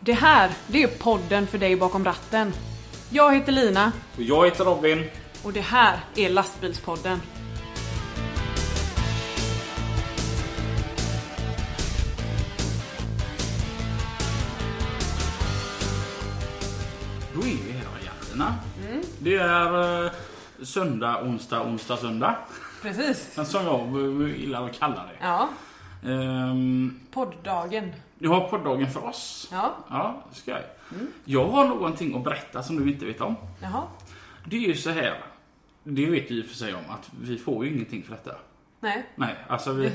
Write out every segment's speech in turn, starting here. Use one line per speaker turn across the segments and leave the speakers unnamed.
Det här, det är podden för dig bakom ratten. Jag heter Lina
Och jag heter Robin.
och det här är Lastbilspodden.
Då är vi här i Gärderna.
Mm.
Det är eh, söndag, onsdag, onsdag, söndag.
Precis.
Men Som jag eh, gillar att kalla det.
Ja,
Ehm,
podddagen.
Du har poddagen för oss.
Ja,
Ja, det ska jag.
Mm.
Jag har någonting att berätta som du inte vet om.
jaha.
Det är ju så här. Det vet du i och för sig om att vi får ju ingenting för detta.
Nej,
Nej, alltså vi...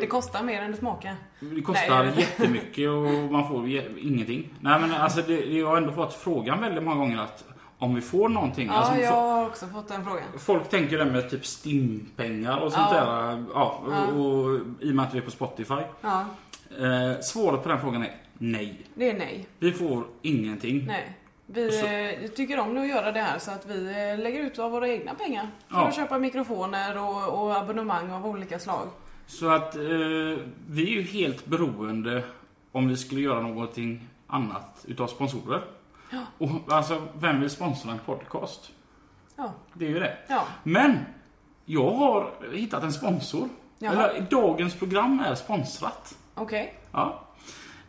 det kostar mer än det smakar.
Det kostar
Nej, jag vet.
jättemycket och man får je- ingenting. Nej men alltså det, jag har ändå fått frågan väldigt många gånger att om vi får någonting. alltså,
Ja,
fo-
jag har också fått den frågan.
Folk tänker det med typ stimpengar och sånt
Ja.
där. Ja, och,
Ja.
och, I och med att vi är på Spotify.
Ja,
Eh, svaret på den frågan är nej.
det är nej.
Vi får ingenting.
Nej. Vi
Så-
eh, tycker om att göra det här så att vi eh, lägger ut av våra egna pengar. För
Ja.
att köpa mikrofoner och, och abonnemang av olika slag.
Så att eh, vi är ju helt beroende om vi skulle göra någonting annat utav sponsorer. Och, alltså, vem vill sponsra en podcast?
Ja,
Det är ju det.
ja.
Men! Jag har hittat en sponsor.
Jaha.
Eller, dagens program är sponsrat.
okej.
Ja.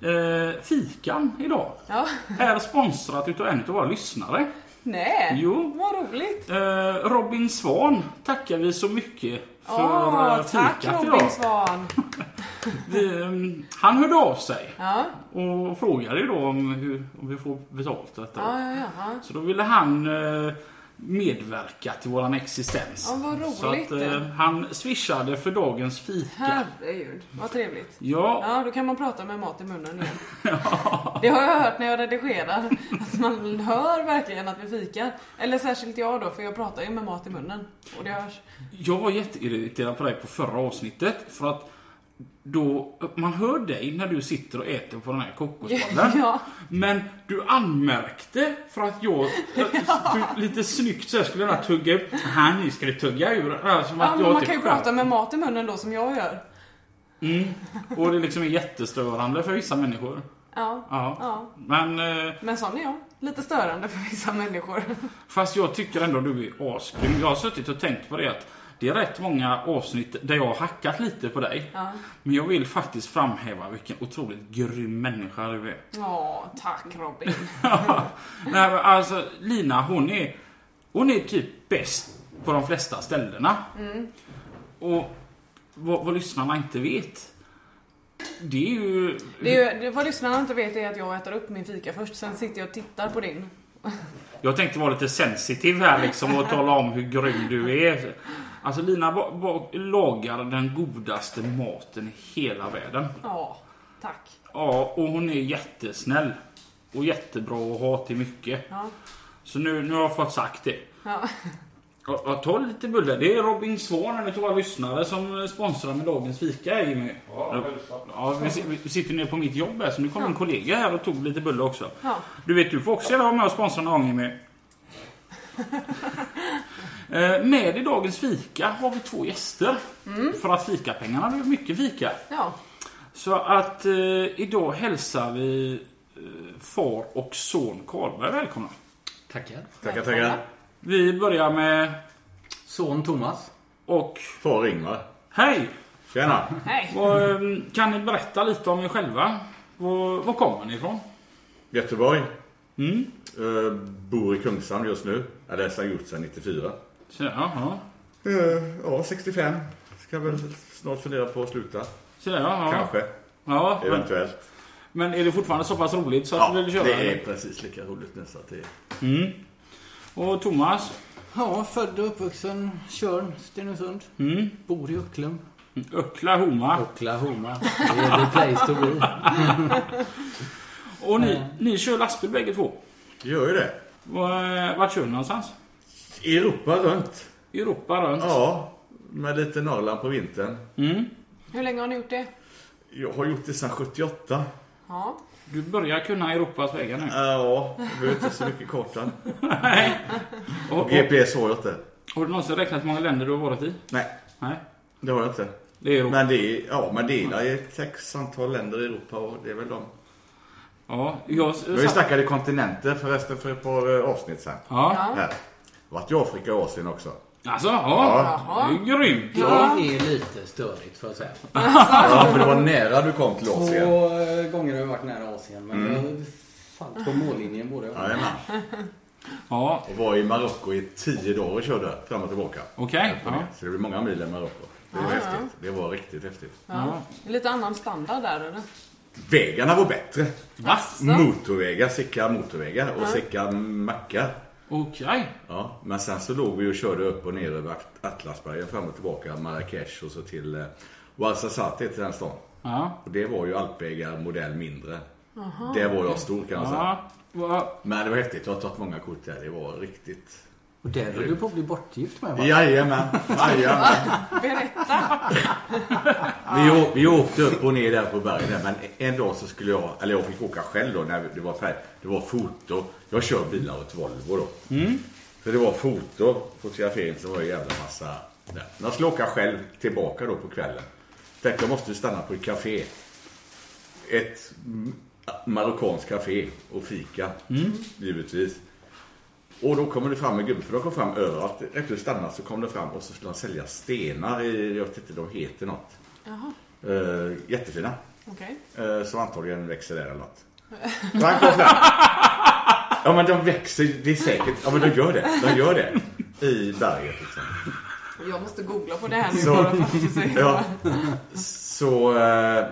Eh, fikan idag.
Ja.
är sponsrat utav en utav våra lyssnare.
Nej,
Jo.
vad roligt.
Eh, Robin Svan tackar vi så mycket för
Åh,
eh,
tack
fikat
Robin
idag.
Svahn.
Vi, eh, han hörde av sig
Ja,
och frågade ju då om, hur, om vi får betalt för detta.
ja, ja, ja, ja.
Så då ville han eh, medverka till våran existens.
Ja, vad roligt.
Så att, eh, han swishade för dagens fika.
Herregud, vad trevligt.
Ja,
Ja, då kan man prata med mat i munnen igen. Det har jag hört när jag redigerar. Att man hör verkligen att vi fikar. Eller särskilt jag då, för jag pratar ju med mat i munnen. Och det hörs.
jag var jätteirriterad på dig på förra avsnittet för att då, man hör dig när du sitter och äter på den här kokosbollen.
Ja,
Men du anmärkte för att jag eh, du, lite snyggt så här skulle jag tugga upp. Här, ni ska det tugga ur. Äh, Som
ja
att
men
jag
man
typ
kan ju
själv-
prata med mat i munnen då som jag gör.
Mm. Och det liksom är jättestörande för vissa människor.
Ja,
Ja.
ja.
Men eh,
Men sån är jag. Lite störande för vissa människor.
fast jag tycker ändå du är asgrym. Jag har suttit och tänkt på det att det är rätt många avsnitt där jag har hackat lite på dig.
Ja,
Men jag vill faktiskt framhäva vilken otroligt grym människa du är.
Åh, tack Robin.
Nej, men alltså Lina hon är, hon är typ bäst på de flesta ställena. Och vad, vad lyssnarna inte vet, det är ju...
Det är ju, det, vad lyssnarna inte vet är att jag äter upp min fika först, sen sitter jag och tittar på din.
Jag tänkte vara lite sensitiv här liksom och tala om hur grym du är. Alltså Lina ba, ba, lagar den godaste maten i hela världen.
Ja, tack.
Ja, och hon är jättesnäll. Och jättebra att ha till mycket.
Ja,
Så nu, nu har jag fått sagt det.
ja.
Ja, ja, ta lite bullar. Det är Robin Svahn, en av våra lyssnare, som sponsrar med dagens fika Jimmy. Ja, ja, vi, si- vi sitter nere på mitt jobb här, så nu kom en kollega här och tog lite bullar också.
Ja.
Du vet, du får också gärna vara med och sponsra någon gång Jimmy. Eh, med i dagens fika har vi två gäster. För att fikapengarna blev mycket fika.
ja.
Så att eh, idag hälsar vi eh, far och son Karlberg välkomna.
Tackar.
Tackar,
Välkomna.
tackar.
Vi börjar med
Son Thomas.
och
Far Ingvar.
hej!
Tjena.
Hej.
Vad, ehm, kan ni berätta lite om er själva? Var, var kommer ni ifrån?
Göteborg.
Mm.
Eh, bor i Kungshamn just nu. Eller har gjort sedan 94.
Så, jaha.
Eh, ja, 65. Ska väl snart fundera på att sluta.
Så, jaha.
Mm. Kanske.
Ja, men,
Eventuellt.
men är det fortfarande så pass roligt så att du vill köra?
det är precis lika roligt nu så att det är...
Och Thomas?
Ja, född och uppvuxen Tjörn, Stenungsund.
Mm.
Bor i Ucklum.
Öckla Homa.
Oklahoma. Det är the place to be.
Och ni,
Mm.
ni kör lastbil bägge två?
Gör ju det.
Var, eh, vart kör ni någonstans?
Europa runt.
I Europa runt?
Ja. Med lite Norrland på vintern.
Mm.
Hur länge har ni gjort det?
Jag har gjort det sedan 78.
Ja.
Du börjar kunna Europas vägar nu.
Eh, ja, det behöver inte så mycket kartan.
Och, och,
GPS har jag inte.
har du någonsin räknat hur många länder du har varit i?
Nej,
Nej.
det har jag inte.
Det är Europa.
Men det är, ja, men det är, det är ett x antal länder i Europa och det är väl de.
Ja, jag...
Jag är ju snackade kontinenter förresten för ett par eh, avsnitt sen.
Ja.
Ja.
Här. Vart i Afrika och Asien också.
Alltså, ja.
Jaha.
Det är grymt.
Ja.
Det är lite störigt för att säga.
Ja, för det var nära du kom till Asien.
Två eh, gånger har jag varit nära Asien men jag har fallit på mållinjen båda gångerna.
Jajamän.
Ja,
Och var i Marocko i tio dagar och körde fram och tillbaka.
okej. Ja.
Så det blir många mil i Marocko. Det var
Ja, ja.
häftigt. Det var riktigt häftigt.
Ja.
Lite annan standard där eller?
Vägarna var bättre.
Va?
Motorvägar, sicka motorvägar och sicka mackar.
Okej.
Ja, men sen så låg vi och körde upp och ner över At- Atlasbergen fram och tillbaka Marrakesh och så till eh, Ouarzazate till den stan.
Ja.
Och det var ju alpvägar modell mindre. Det var jag stor kan man säga.
Ja. Va-
Men det var häftigt. Jag har tagit många kort där. Det var riktigt...
Och där höll du på att bli bortgift med va?
Jajamän. Jajamän.
Berätta!
Vi, å- vi åkte upp och ner där på bergen där, men en dag så skulle jag, eller jag fick åka själv då när det var färdigt. Det var foto. Jag kör bilar åt Volvo då. Så det var foto, fotografering, så var det en jävla massa där. Men Jag skulle åka själv tillbaka då på kvällen. Tänkte jag måste stanna på ett café. Ett m- marockanskt café och fika, givetvis. Och då kommer det fram en gubbe, för de kom fram överallt. Efter att stanna så kom det fram och så skulle de sälja stenar, i, jag vet inte, de heter något.
Jaha,
Eh, jättefina.
okej.
Eh, som antagligen växer där eller något. Så han kom fram. Ja men de växer, det är säkert. Ja men de gör det. De gör det. I berget liksom.
Jag måste googla på det här nu
Så-
bara för att se.
Ja. Så eh,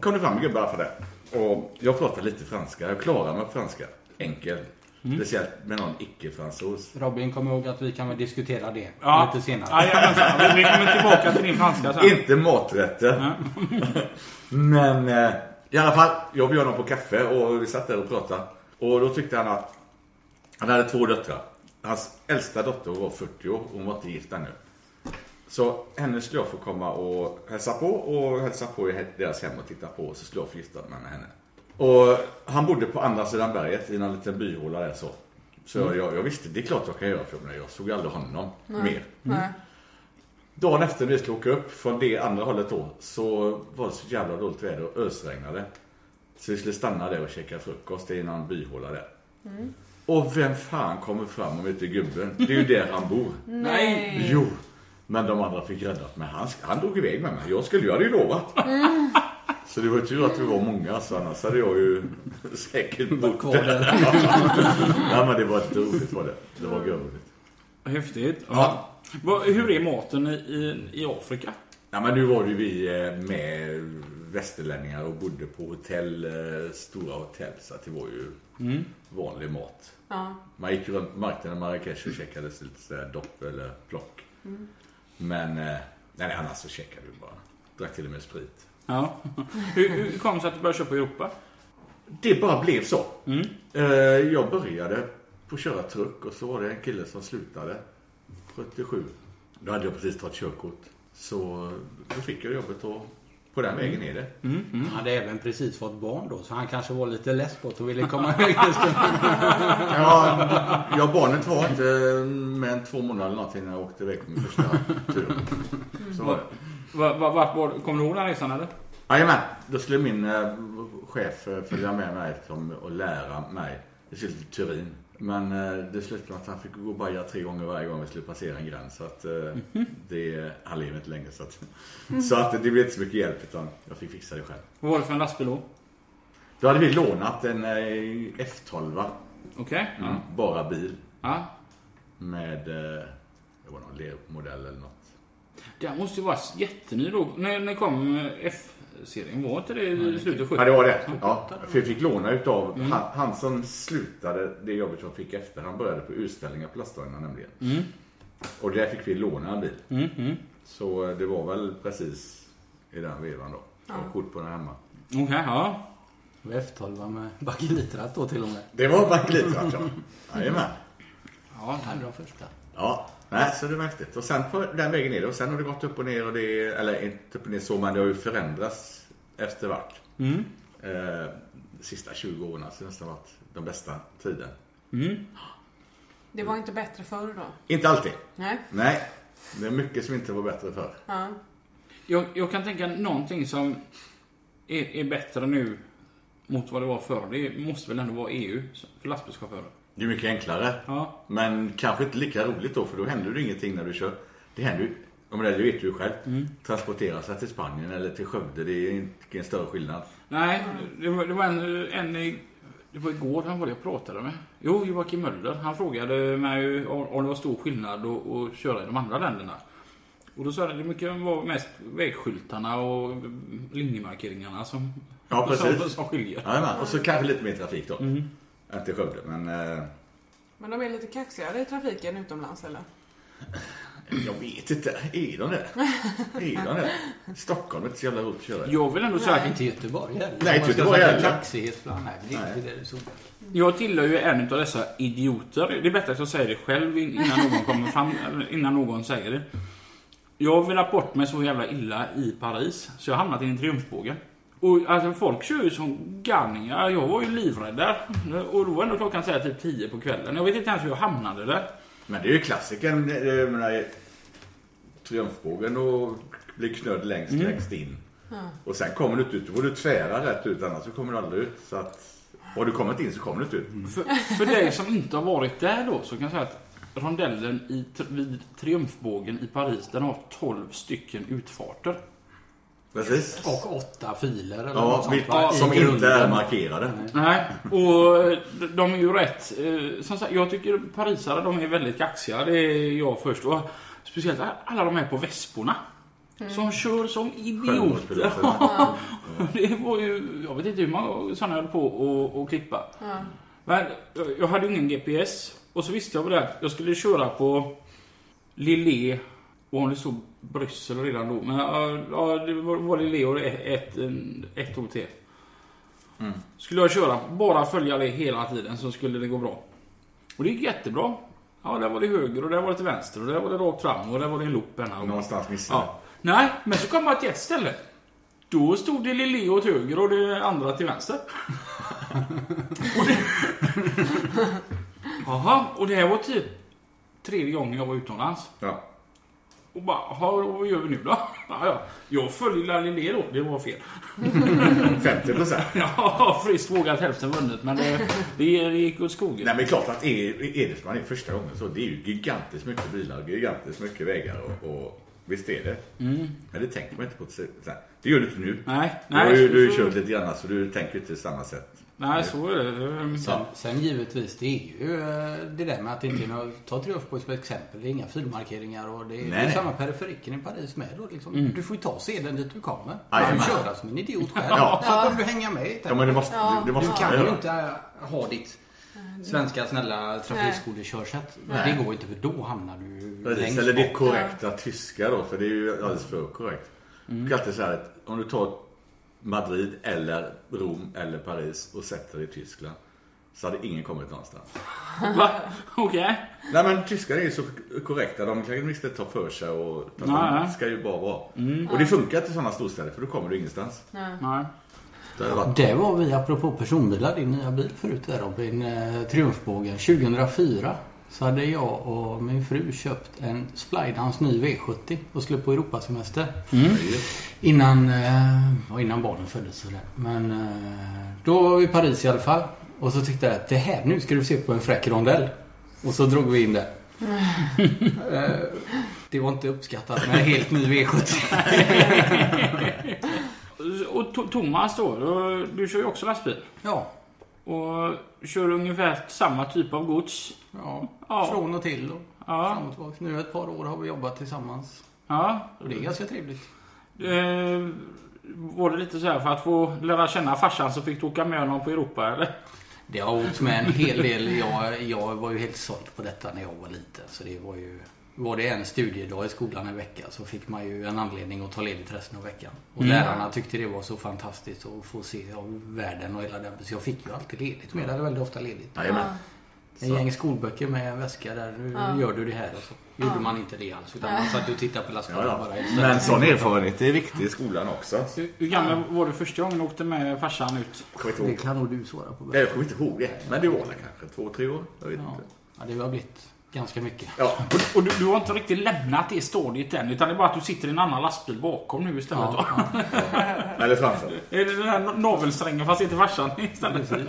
kom det fram en gubbe i alla fall där. Och jag pratar lite franska. Jag klarar mig på franska. Enkel. Speciellt med någon icke-fransos.
Robin, kom ihåg att vi kan väl diskutera det
Ja.
lite senare.
Jajamensan. Vi- Vi kommer tillbaka till din franska sen.
Inte maträtter. Men eh, i alla fall, jag bjöd honom på kaffe och vi satt där och pratade. Och då tyckte han att han hade två döttrar. Hans äldsta dotter var 40 år och hon var inte gift ännu. Så henne skulle jag få komma och hälsa på och hälsa på i deras hem och titta på och så skulle jag få gifta mig med henne. Och han bodde på andra sidan berget i en liten byhåla där så. Så jag, jag visste, det är klart jag kan göra för mig. Jag såg aldrig honom mer.
Nej.
Dagen efter när vi skulle åka upp från det andra hållet då så var det så jävla dåligt väder och ösregnade. Så vi skulle stanna där och käka frukost i någon byhåla där. Och vem fan kommer fram om inte gubben? Det är ju där han bor.
Nej.
Jo, men de andra fick räddat mig. Han, han drog iväg med mig. Jag skulle, jag hade ju lovat. Så det var tur att vi var många så annars hade jag ju säkert bott
kvar
där. Nej men det var inte roligt var det. Det var görroligt.
Häftigt.
Ja.
Va- Hur är maten i, i, i Afrika?
Ja, men nu var ju vi eh, med västerlänningar och bodde på hotell, eh, stora hotell. Så att det var ju vanlig mat.
Ja.
Man gick runt på marknaden i Marrakesh och käkade lite sådär dopp eller plock. Men eh, nej, nej, annars så käkade vi bara. Drack till och med sprit.
Ja. Hur, hur kom det sig att du började köpa i Europa?
Det bara blev så.
Mm.
Eh, Jag började på att köra truck och så var det en kille som slutade 77. Då hade jag precis tagit körkort. Så eh, då fick jag jobbet och på den vägen är det.
Mm. Han hade även precis fått barn då så han kanske var lite less på det och ville komma iväg en stund.
Ja, ja, barnet var inte med än två månader eller någonting när jag åkte iväg på min första tur. Så var det.
Va, va, vart var, kommer du ihåg den här resan eller?
Jajamän, då skulle min eh, chef eh, följa med mig som, och lära mig. Vi skulle till Turin. Men eh, det slutade med att han fick gå och baja tre gånger varje gång vi skulle passera en gräns. Så att eh, det, han lever inte längre. Så att, så att det blev inte så mycket hjälp utan jag fick fixa det själv.
Vad var det för en lastbil då?
Då hade vi lånat en eh, F12,
Okej. Ja.
bara bil.
Ja.
Med, eh, det var någon lermodell eller något.
Den måste ju vara jätteny då. När, när kom F-serien? Var inte det i slutet av 70
Ja, det var det. Ja, för jag fick låna utav han, han som slutade det jobbet jag fick efter. Han började på utställningar på lastvagnar nämligen. Och där fick vi låna en bil.
Mhm.
Så eh, det var väl precis i den vevan då. Jag har kort på den hemma.
Okej, ja.
F12 med bakelitrat då till och med.
Det var bakelitrat ja. Jajamän.
ja.
Han var första.
Ja, nej, så det var häftigt. Och sen på den vägen ner och sen har det gått upp och ner och det, eller inte upp och ner så, men det har ju förändrats efter vart.
Mm.
Eh, sista 20 åren alltså, det har nästan varit den bästa tiden.
Mm.
Det var inte bättre förr då?
Inte alltid.
Nej.
Nej, det är mycket som inte var bättre förr.
Ja.
Jag, jag kan tänka någonting som är, är bättre nu mot vad det var förr. Det måste väl ändå vara EU för lastbilschaufförer?
Det är mycket enklare.
Ja.
Men kanske inte lika roligt då för då händer det ingenting när du kör. Det händer ju, om det, det vet du ju själv. Transportera sig till Spanien eller till Skövde, det är inte en större skillnad.
Nej, det var, det var en, en... i- Det var igår han var det jag pratade med. Jo, Joakim Möller. Han frågade mig om om det var stor skillnad att, att köra i de andra länderna. Och då sa jag att det mycket var mest vägskyltarna och linjemarkeringarna som,
Ja,
som,
precis.
som skiljer.
Jajamän, och så kanske lite mer trafik då. Än till Skövde, men eh,
Men de är lite kaxigare i trafiken utomlands eller?
jag vet inte. Är de det? Är de det? Stockholm är inte så jävla roligt att köra i.
Jag vill ändå säga att
Inte Göteborg heller.
Nej,
Om man
inte
ska
Göteborg
sätta
heller.
Kaxighet bland annat. Det är inte det som-
Jag tillhör ju en av dessa idioter. Det är bättre att jag säger det själv innan någon kommer fram, eller innan någon säger det. Jag vill ha bort mig så jävla illa i Paris, så jag har hamnat i en triumfbåge. Och alltså folk kör ju som galningar. Jag var ju livrädd där. Och då var ändå klockan så här typ 10 på kvällen. Jag vet inte ens hur jag hamnade där.
Men det är ju klassikern. eh, Jag menar, triumfbågen och blir knödd längst, längst in. Och sen kommer du inte ut. Då får du tvära rätt ut, annars så kommer du aldrig ut. Så att, och du kommer inte in så kommer du inte ut.
För, för dig som inte har varit där då, så kan jag säga att rondellen i, tr- vid triumfbågen i Paris, den har 12 stycken utfarter.
Precis.
Och åtta filer eller något
Ja,
sånt,
mitt,
va? I
som inte
grunden.
är markerade.
Nej, och de- de är ju rätt. eh, Som sagt, jag tycker parisare de är väldigt kaxiga. Det är jag först. Och speciellt alla de här på Vesporna. Som kör som idioter.
Självmordspiloten.
Det var ju, jag vet inte hur många sådana jag höll på och, och klippa. Men eh, jag hade ju ingen GPS. Och så visste jag väl det att jag skulle köra på Lille och om det stod Bryssel redan då. Men ja, ja, det var var Lille och ett, ett, ett ord till. Skulle jag köra, bara följa det hela tiden så skulle det gå bra. Och det gick jättebra. Ja, där var det höger och där var det till vänster och där var det rakt fram och där var det en loop här.
Ja, Någonstans missade
Ja. Nej, men så kom man till ett ställe. Då stod det Lille åt höger och det andra till vänster. och det... Jaha, och det här var typ tredje gången jag var utomlands.
ja.
Och bara, "Jaha, och vad gör vi nu då? Ja, ja. Jag följer La Lille då, det var fel.
50 procent.
Ja, friskt vågat hälften vunnit, men det, det, det gick åt skogen.
Nej men klart att är, är det som man är första gången så det är ju gigantiskt mycket bilar, gigantiskt mycket vägar och, och visst är det. Men det tänker man inte på. ett se- så här. Det gör du inte nu.
Nej,
Du har ju,
nej,
du har ju
så,
kört lite grann så du tänker ju inte samma sätt.
nej, så är det. Ehm,
Sen, sen givetvis, det är ju eh, det där med att det inte är några, ta Triumfbåge som exempel, det är inga filmarkeringar och det är, det är
Nej.
samma periferiken i Paris med då liksom. Du får ju ta sedeln dit du kommer. Du
Jajamän.
får köra som en idiot själv.
Ja.
Så kommer du hänga med.
Ja men det måste, det, det
Du
måste man
kan ju
göra.
inte eh, ha ditt svenska snälla trafikskolekörsätt.
Nej.
Det går inte för då hamnar du
Precis,
längst
eller det
bak.
korrekta tyska då för det är ju alldeles för korrekt. Mm. Du kan alltid säga att om du tar Madrid eller Rom eller Paris och sätter dig i Tyskland så hade ingen kommit någonstans.
Va? Okej.
Nej men tyskar är ju så korrekta. De kan ju inte ta för sig och
Nej.
de ska ju bara vara.
Mm.
Och det funkar inte i sådana storstäder för då kommer du ingenstans.
Nej.
Det har varit
Det var vi apropå personbilar, din nya bil förut där Robin, eh, Triumfbågen. 2004 så hade jag och min fru köpt en Splidans ny V70 och skulle på Europasemester. Mm. Innan, eh, ja, innan barnen föddes sådär. Men eh, då var vi i Paris i alla fall. Och så tyckte jag att det här, nu ska du se på en fräck rondell. Och så drog vi in det. Eh, det var inte uppskattat med en helt ny V70.
Och To- Thomas då, du- du kör ju också lastbil.
Ja,
Och kör ungefär samma typ av gods.
ja,
Ja.
från och till. Och.
Ja.
Fram och tillbaka. Nu ett par år har vi jobbat tillsammans.
ja.
Och det är ganska trevligt.
Eh, var det lite så här för att få lära känna farsan så fick du åka med honom på Europa eller?
Det har åkt med en hel del. Jag, jag var ju helt såld på detta när jag var liten. Så det var ju... Var det en studiedag i skolan en vecka så fick man ju en anledning att ta ledigt resten av veckan. Och lärarna tyckte det var så fantastiskt att få se av världen och hela den. Så jag fick ju alltid ledigt med. Jag hade väldigt ofta ledigt.
Jajamän.
En gäng skolböcker med en väska där. Nu gör du det här. Och så gjorde man inte det alls. Utan man satt och tittade på lastbilen
Ja, ja.
bara.
Men sån erfarenhet är viktig i skolan också.
Hur- Hur gammal var du första gången du åkte med farsan ut?
Jag kommer inte
Det
ihåg.
kan nog du svara på. bättre.
Nej, jag kommer inte ihåg det. Men det var väl kanske två, tre år. Jag vet
Ja.
inte.
ja, det har blivit ganska mycket.
Ja.
Och, och du, du har inte riktigt lämnat det stadiet än, utan det är bara att du sitter i en annan lastbil bakom nu istället.
Ja,
va?
Eller framför.
Är det den här no- navelsträngen fast inte farsan istället?
Precis.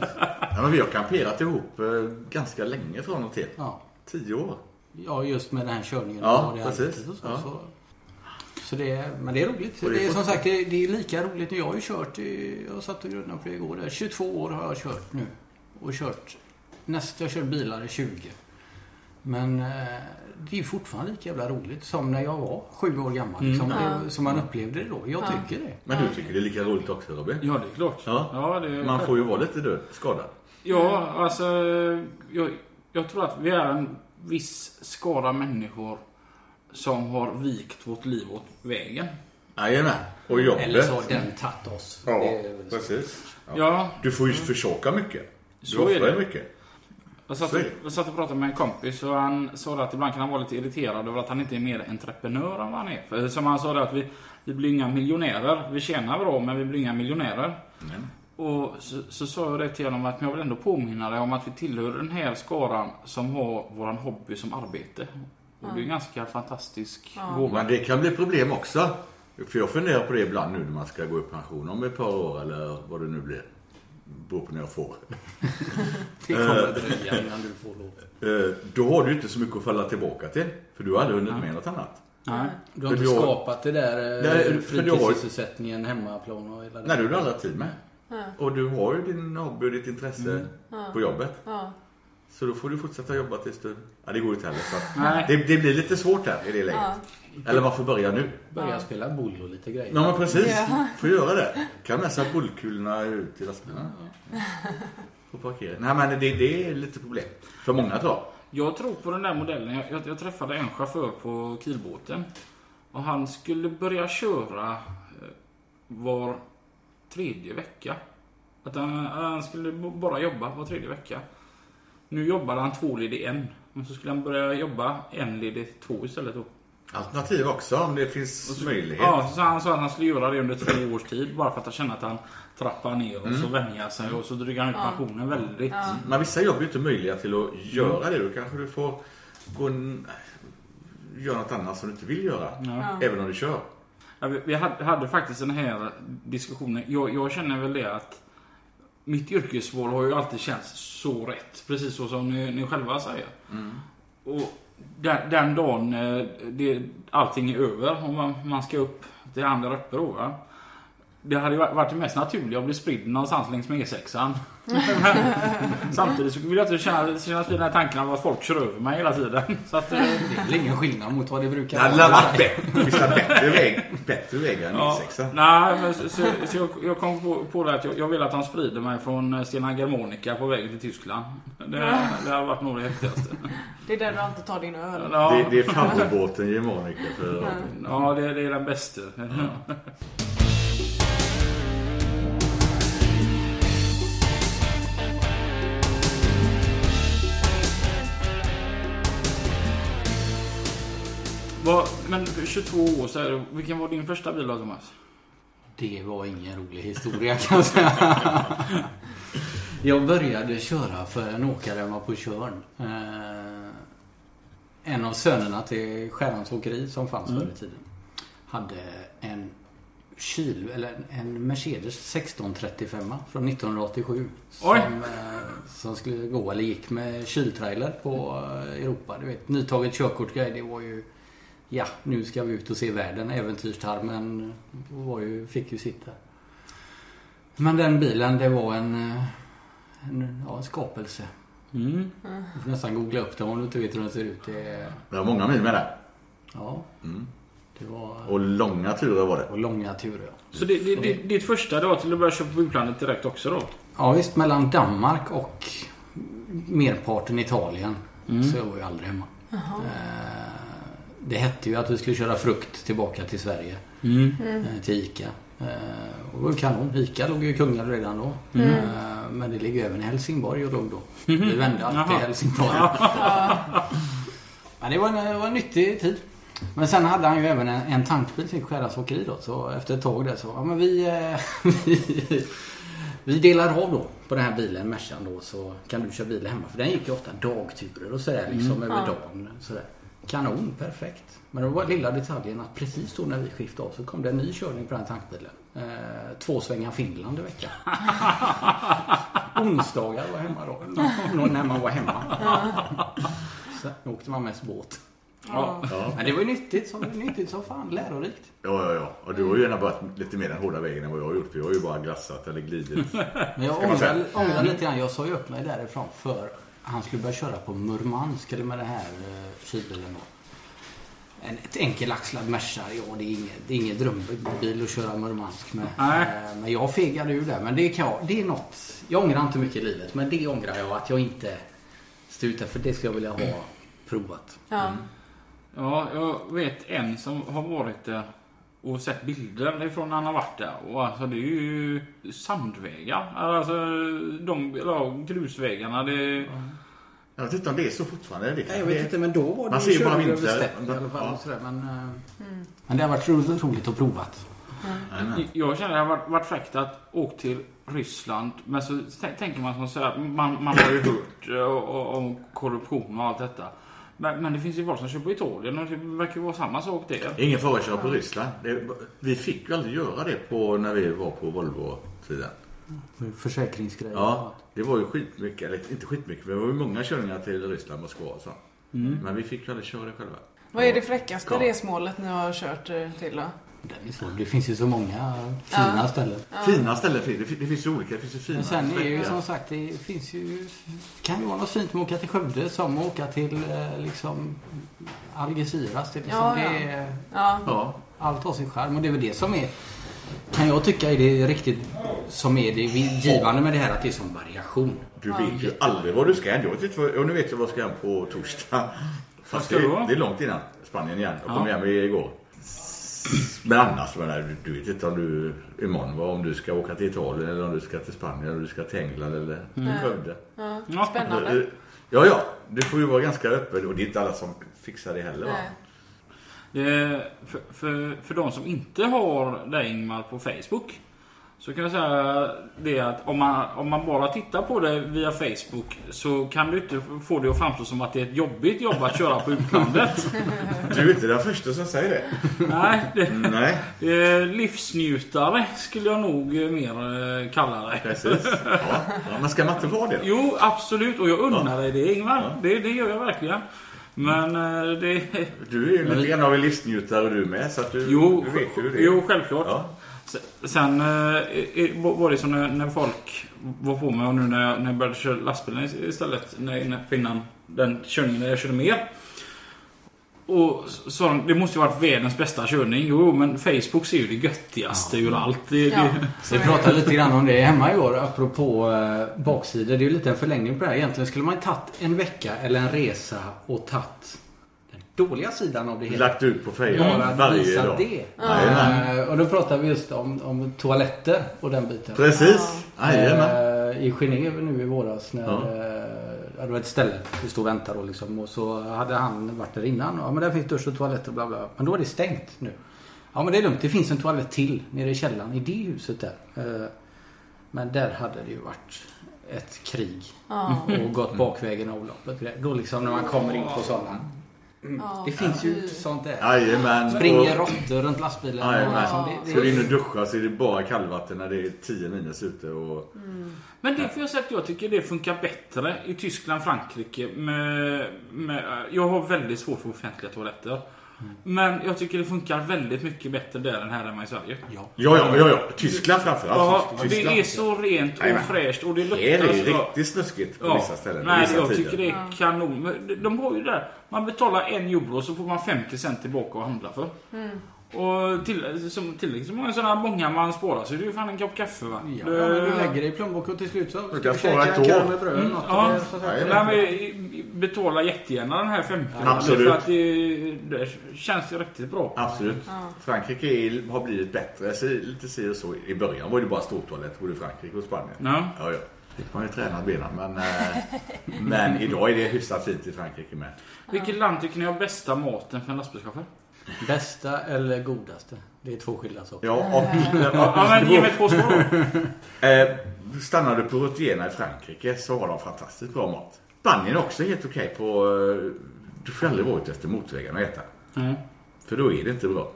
Ja, men vi har kamperat ihop eh, ganska länge från och till.
Ja.
Tio år.
ja, just med den här körningen.
Ja,
och det
precis.
arbetet Och så,
Ja.
så. Så det är, men det är roligt.
Och det är
Det är, som
fort-
sagt det är, det är lika roligt. Jag har ju kört, i- jag satt och grundade på det igår. Där. 22 år har jag kört nu. Och kört, nästa jag kör bilar är 20. Men eh, det är fortfarande lika jävla roligt som när jag var sju år gammal. Liksom, det, som man upplevde det då. Jag tycker det.
Men du tycker det är lika roligt också Robin?
Ja, det är klart.
Ja.
det är
Man
klart.
får ju vara lite död, skadad.
Ja, alltså... Jag, jag tror att vi är en viss skara människor som har vikt vårt liv åt vägen.
Jajamän. Och
Eller
jobbet.
så har den tagit oss.
Ja,
Det är väl så. Mm.
precis.
Ja.
Du får ju försaka mycket. Du
Så är
offrar
det.
mycket.
jag, satt
så
och,
är det.
jag satt och pratade med en kompis och han sa att ibland kan han vara lite irriterad över att han inte är mer entreprenör än vad han är. För som han sa det att vi, vi blir inga miljonärer. Vi tjänar bra men vi blir inga miljonärer.
Mm.
Och så, så sa jag det till honom att men jag vill ändå påminna dig om att vi tillhör den här skaran som har våran hobby som arbete. Och det är en ganska fantastisk gåva.
Men det kan bli problem också. För jag funderar på det ibland nu när man ska gå i pension om ett par år eller vad det nu blir. Beror på när jag får.
Det kommer att dröja innan du får lov.
Eh, Då har du ju inte så mycket att falla tillbaka till. För du hade hunnit med något annat.
Nej.
Du har inte
För du har-
skapat det där
Nej, för
eh,
du har-
fritidssysselsättningen, hemmaplan och hela det.
Nej, det har du aldrig tid med. Och du har ju din hobby och ditt intresse
Mm.
på jobbet.
Ja.
Så då får du fortsätta jobba tills du... Ja, det går ju inte heller. Så att-
Nej.
det, det blir lite svårt här i det läget.
Ja.
Eller man får börja nu.
Börja spela boll och lite grejer.
Ja, men precis.
Ja.
Får göra det. Kan med sig bullkulorna ut till lastbilarna. På parkeringen. Nej, men det, det är lite problem. För många tror jag.
Jag tror på den där modellen. Jag, jag, jag träffade en chaufför på kilbåten. Och han skulle börja köra eh, var tredje vecka. Att han, han skulle b- bara jobba var tredje vecka. Nu jobbade han två led i en. Men så skulle han börja jobba en led i två istället då.
Alternativ också om det finns möjlighet.
Ja, så han sa att han skulle göra det under tre års tid bara för att han kände att han trappar ner och så vänjer sig och så drygar han ut pensionen väldigt.
Men vissa jobb är ju inte möjliga till att göra det. Då kanske du får gå en, göra något annat som du inte vill göra. Även om du kör.
Ja, vi vi hade, hade faktiskt den här diskussionen. Jag, jag känner väl det att mitt yrkesval har ju alltid känts så rätt. Precis så som ni, ni själva säger. Och den, den dagen eh, det, allting är över och man, man ska upp till andra uppe då. Va? Det hade ju varit varit det mest naturliga att bli spridd någonstans längs med E6an. Samtidigt så vill jag inte känna, känna till den här tanken om att folk kör över mig hela tiden. Så att, eh,
Det är väl ingen skillnad mot vad det
Det
brukar
hade varit bättre. Finns det bättre väg, bättre väg än E
Ja,
E6?
nej, men så, så, så jag, jag kom på, på det att jag, jag vill att han sprider mig från eh, Stena Germanica på vägen till Tyskland. Det, det har varit nog det häftigaste.
Det är där du alltid tar din öl.
Ja,
Det, det är favoritbåten i Monica för Robin.
ja det, det är den bästa. Vad- Men 22 år, så här, vilken var din första bil då Thomas?
Det var ingen rolig historia kan jag säga. Jag började köra för en åkare hemma på Tjörn. Eh, en av sönerna till Skärans Åkeri som fanns
Mm.
förr i tiden. Hade en kyl, eller en- en Mercedes 1635 från 1987. Som,
Oj.
eh, som skulle gå, eller gick med kyltrailer på eh, Europa. Du vet, nytaget körkort grej, det var ju Ja, nu ska vi ut och se världen. Äventyrstarmen var ju, fick ju sitta. Men den bilen, det var en, eh, en, ja, en skapelse.
Mm.
Du får nästan googla upp den om du inte vet hur den ser ut. Det, är-
Det var många mil med det.
ja, det var
Och långa turer var det.
och långa turer.
Så det, det, det, ditt första det var till att börja köpa på utlandet direkt också då?
Ja, visst, mellan Danmark och merparten Italien så jag var ju aldrig hemma. Eh, Det hette ju att vi skulle köra frukt tillbaka till Sverige. eh, till ICA. Eh, Och det var ju kanon. ICA låg ju i Kungälv redan då. Eh, Men det ligger ju även i Helsingborg och låg då. Vi vände alltid i
Jaha.
Helsingborg. Men det var, en, det var en nyttig tid. Men sen hade han ju även en, en tankbil till Skärans Åkeri då. Så efter ett tag där så, ja men vi, eh, vi, vi delar av då på den här bilen, Mercan då, så kan du köra bilen hemma. För den gick ju ofta dagturer och sådär liksom över
Ja.
dagen. Sådär. Kanon, perfekt. Men det var lilla detaljen att precis då när vi skiftade av så kom det en ny körning på den här tankbilen. Eh, två svängar Finland i veckan. Onsdagar var jag hemma då. Nå- när man var hemma. Sen åkte man mest båt.
Ja.
Ja.
Men det var ju nyttigt som, nyttigt som fan, lärorikt.
Ja, ja, ja. Och du har ju gärna börjat lite mer den hårda vägen än vad jag har gjort. För jag har ju bara glassat eller glidit.
Men jag
Ska man säga? Mm.
ångrar, ångrar lite grann. Jag sa ju upp mig därifrån för han skulle börja köra på Murmansk eller med den här eh, kylbilen då. En, ett enkelaxlad Merca, ja det är inget, det är ingen drömbil att köra Murmansk med.
Nej.
Eh, Men jag fegade ju där. Men det kan jag, det är något. Jag ångrar inte mycket i livet men det ångrar jag att jag inte stod ut där, för det skulle jag vilja ha provat.
Mm.
Ja.
Ja, jag vet en som har varit där och sett bilder ifrån när han har varit där. Och alltså det är ju sandvägar. Alltså de eller, grusvägarna. Det,
Jag vet inte om det är så fortfarande. Det
Nej,
kan
jag
det-
vet inte, men då var det
Man
ju
ser ju bara
körning över
vintrar.
stepp i alla fall.
Ja.
Och sådär, men, eh, men det har varit roligt, roligt att provat.
jag känner att det har varit, varit fräckt att åka till Ryssland. Men så t- tänker man som så här, man, man har ju hört eh, o- o- om korruption och allt detta. Men, men det finns ju folk som kör på Italien och det verkar ju vara samma sak där.
Ingen fara att köra på Ryssland. Det, vi fick ju aldrig göra det på, när vi var på Volvo-tiden.
Försäkringsgrejer.
Ja, det var ju skitmycket, eller inte skitmycket, men det var ju många körningar till Ryssland, Moskva och så.
Mm.
Men vi fick ju aldrig köra det själva.
Vad är det fräckaste
Ja.
resmålet ni har kört eh, till då?
Den är svår. Det finns ju så många fina ställen.
Fina ställen finns det. fin- Det finns ju olika. Det finns ju fina.
Men sen är det ju
fräcka.
som sagt, det finns ju... kan ju vara något fint med att åka till Skövde som att åka till eh, liksom Algeciras. Det är liksom,
Ja, ja.
det är,
Ja.
Ja,
allt har sin charm och det är väl det som är kan jag tycka är det riktigt som är det givande med det här att det är som variation.
du vet ju aldrig var du ska än. Jag vet inte vad, och nu vet jag vad jag ska än på torsdag. Fast
ska
det,
du vara?
det är långt innan Spanien igen. Jag kom
Ja.
hem igår. Men annars, men nej, du vet inte om du imorgon vad, om du ska åka till Italien eller om du ska till Spanien eller om du ska till England eller
Mm.
till Skövde.
Ja.
Spännande.
Eh, Ja, ja. Du får ju vara ganska öppen och det är inte alla som fixar det heller va?
Nej.
Eh, för, för, för de som inte har dig Ingmar på Facebook så kan jag säga det att om man, om man bara tittar på det via Facebook så kan du inte få det att framstå som att det är ett jobbigt jobb att köra på utlandet.
Du är inte den första som säger det.
Nej, det,
Nej,
eh, livsnjutare skulle jag nog eh, mer eh, kalla dig.
precis. Ja. Ja, men ska man inte vara det då?
Jo, absolut. Och jag unnar dig det Ingmar. Det, det gör jag verkligen. Men eh, det...
Du är ju lite grann av en livsnjutare du med. Så att du,
Jo,
du vet ju hur det är.
jo självklart.
Ja.
Se- Sen eh, i- i- var det som när, när folk var på mig och nu när jag, när jag började köra lastbilen ist- istället. När, innan- innan den körningen där jag körde med. Och s- sa de, det måste ju varit världens bästa körning. Jo, men Facebook ser ju det göttigaste ur allt. Det,
Ja.
det,
så
Vi
är det.
pratade lite grann om det hemma i år apropå eh, baksidor. Det är ju lite en förlängning på det här. Egentligen skulle man ju tagit en vecka eller en resa och tagit den dåliga sidan av det hela.
Lagt ut på
Bara
fejan
att
varje
visa
dag.
det.
Jajamän.
Eh, och då pratar vi just om, om toaletter och den biten.
Precis. Jajamän.
Eh, I Genève nu i våras när
Ja.
eh, ja, det var ett ställe vi stod och väntade och, liksom, och så hade han varit där innan. Ja men där finns dusch och toalett och bla bla. Men då är det stängt nu. Ja men det är lugnt. Det finns en toalett till nere i källaren i det huset där. Eh, men där hade det ju varit ett krig.
Ja.
Och gått bakvägen och avloppet. Då liksom när man kommer in på sådana.
Ja.
Det finns ju sånt där.
Jajamän.
Springer
Och-
råttor runt lastbilen.
Jajamän.
Liksom, det- det-
Går in och duschar så är det bara kallvatten när det är 10 minus ute. Och...
Men det får jag säga att jag tycker det funkar bättre i Tyskland, Frankrike. Med, med, jag har väldigt svårt för offentliga toaletter. Mm. Men jag tycker det funkar väldigt mycket bättre där än här hemma i Sverige.
Ja, ja, ja, ja. Tyskland framförallt.
Ja, det
Tyskland.
är så rent och
Jajamän.
fräscht och det luktar
Det är
så bra.
riktigt snuskigt på vissa ställen. på
Nej,
vissa
jag
tider.
tycker det är kanon. Men de- De har ju där. Man betalar en euro så får man 50 cent tillbaka och handla för.
Mm.
Och till, som, tillräckligt så många sådana många man sparar så det är ju fan en kopp kaffe va.
Ja,
Det-
men du lägger det i plånboken och till slut så
Du kan
ska
spara
käka
ett år.
korv med bröd eller något.
Mm. ja.
eller så här.
Nej,
Nej, men i- betala jättegärna den här 50
Absolut.
För att det, det känns ju riktigt bra.
Absolut. Frankrike är, har blivit bättre, så, lite si och så. I början var det bara stortoalett både i Frankrike och Spanien.
Ja.
Ja, ja. Fick man ju tränat benen. Men, eh, men idag är det hyfsat fint i Frankrike med.
Vilket land tycker ni har bästa maten för en lastbilschaufför?
Bästa eller godaste? Det är två skilda saker.
Ja, av bilden.
Ja, men ge mig två spår då.
Eh, stannar du på Rotiena i Frankrike så har de fantastiskt bra mat. Spanien är också helt okej på... Eh, du får aldrig vara ute efter motorvägarna och äta.
Nej.
För då är det inte bra.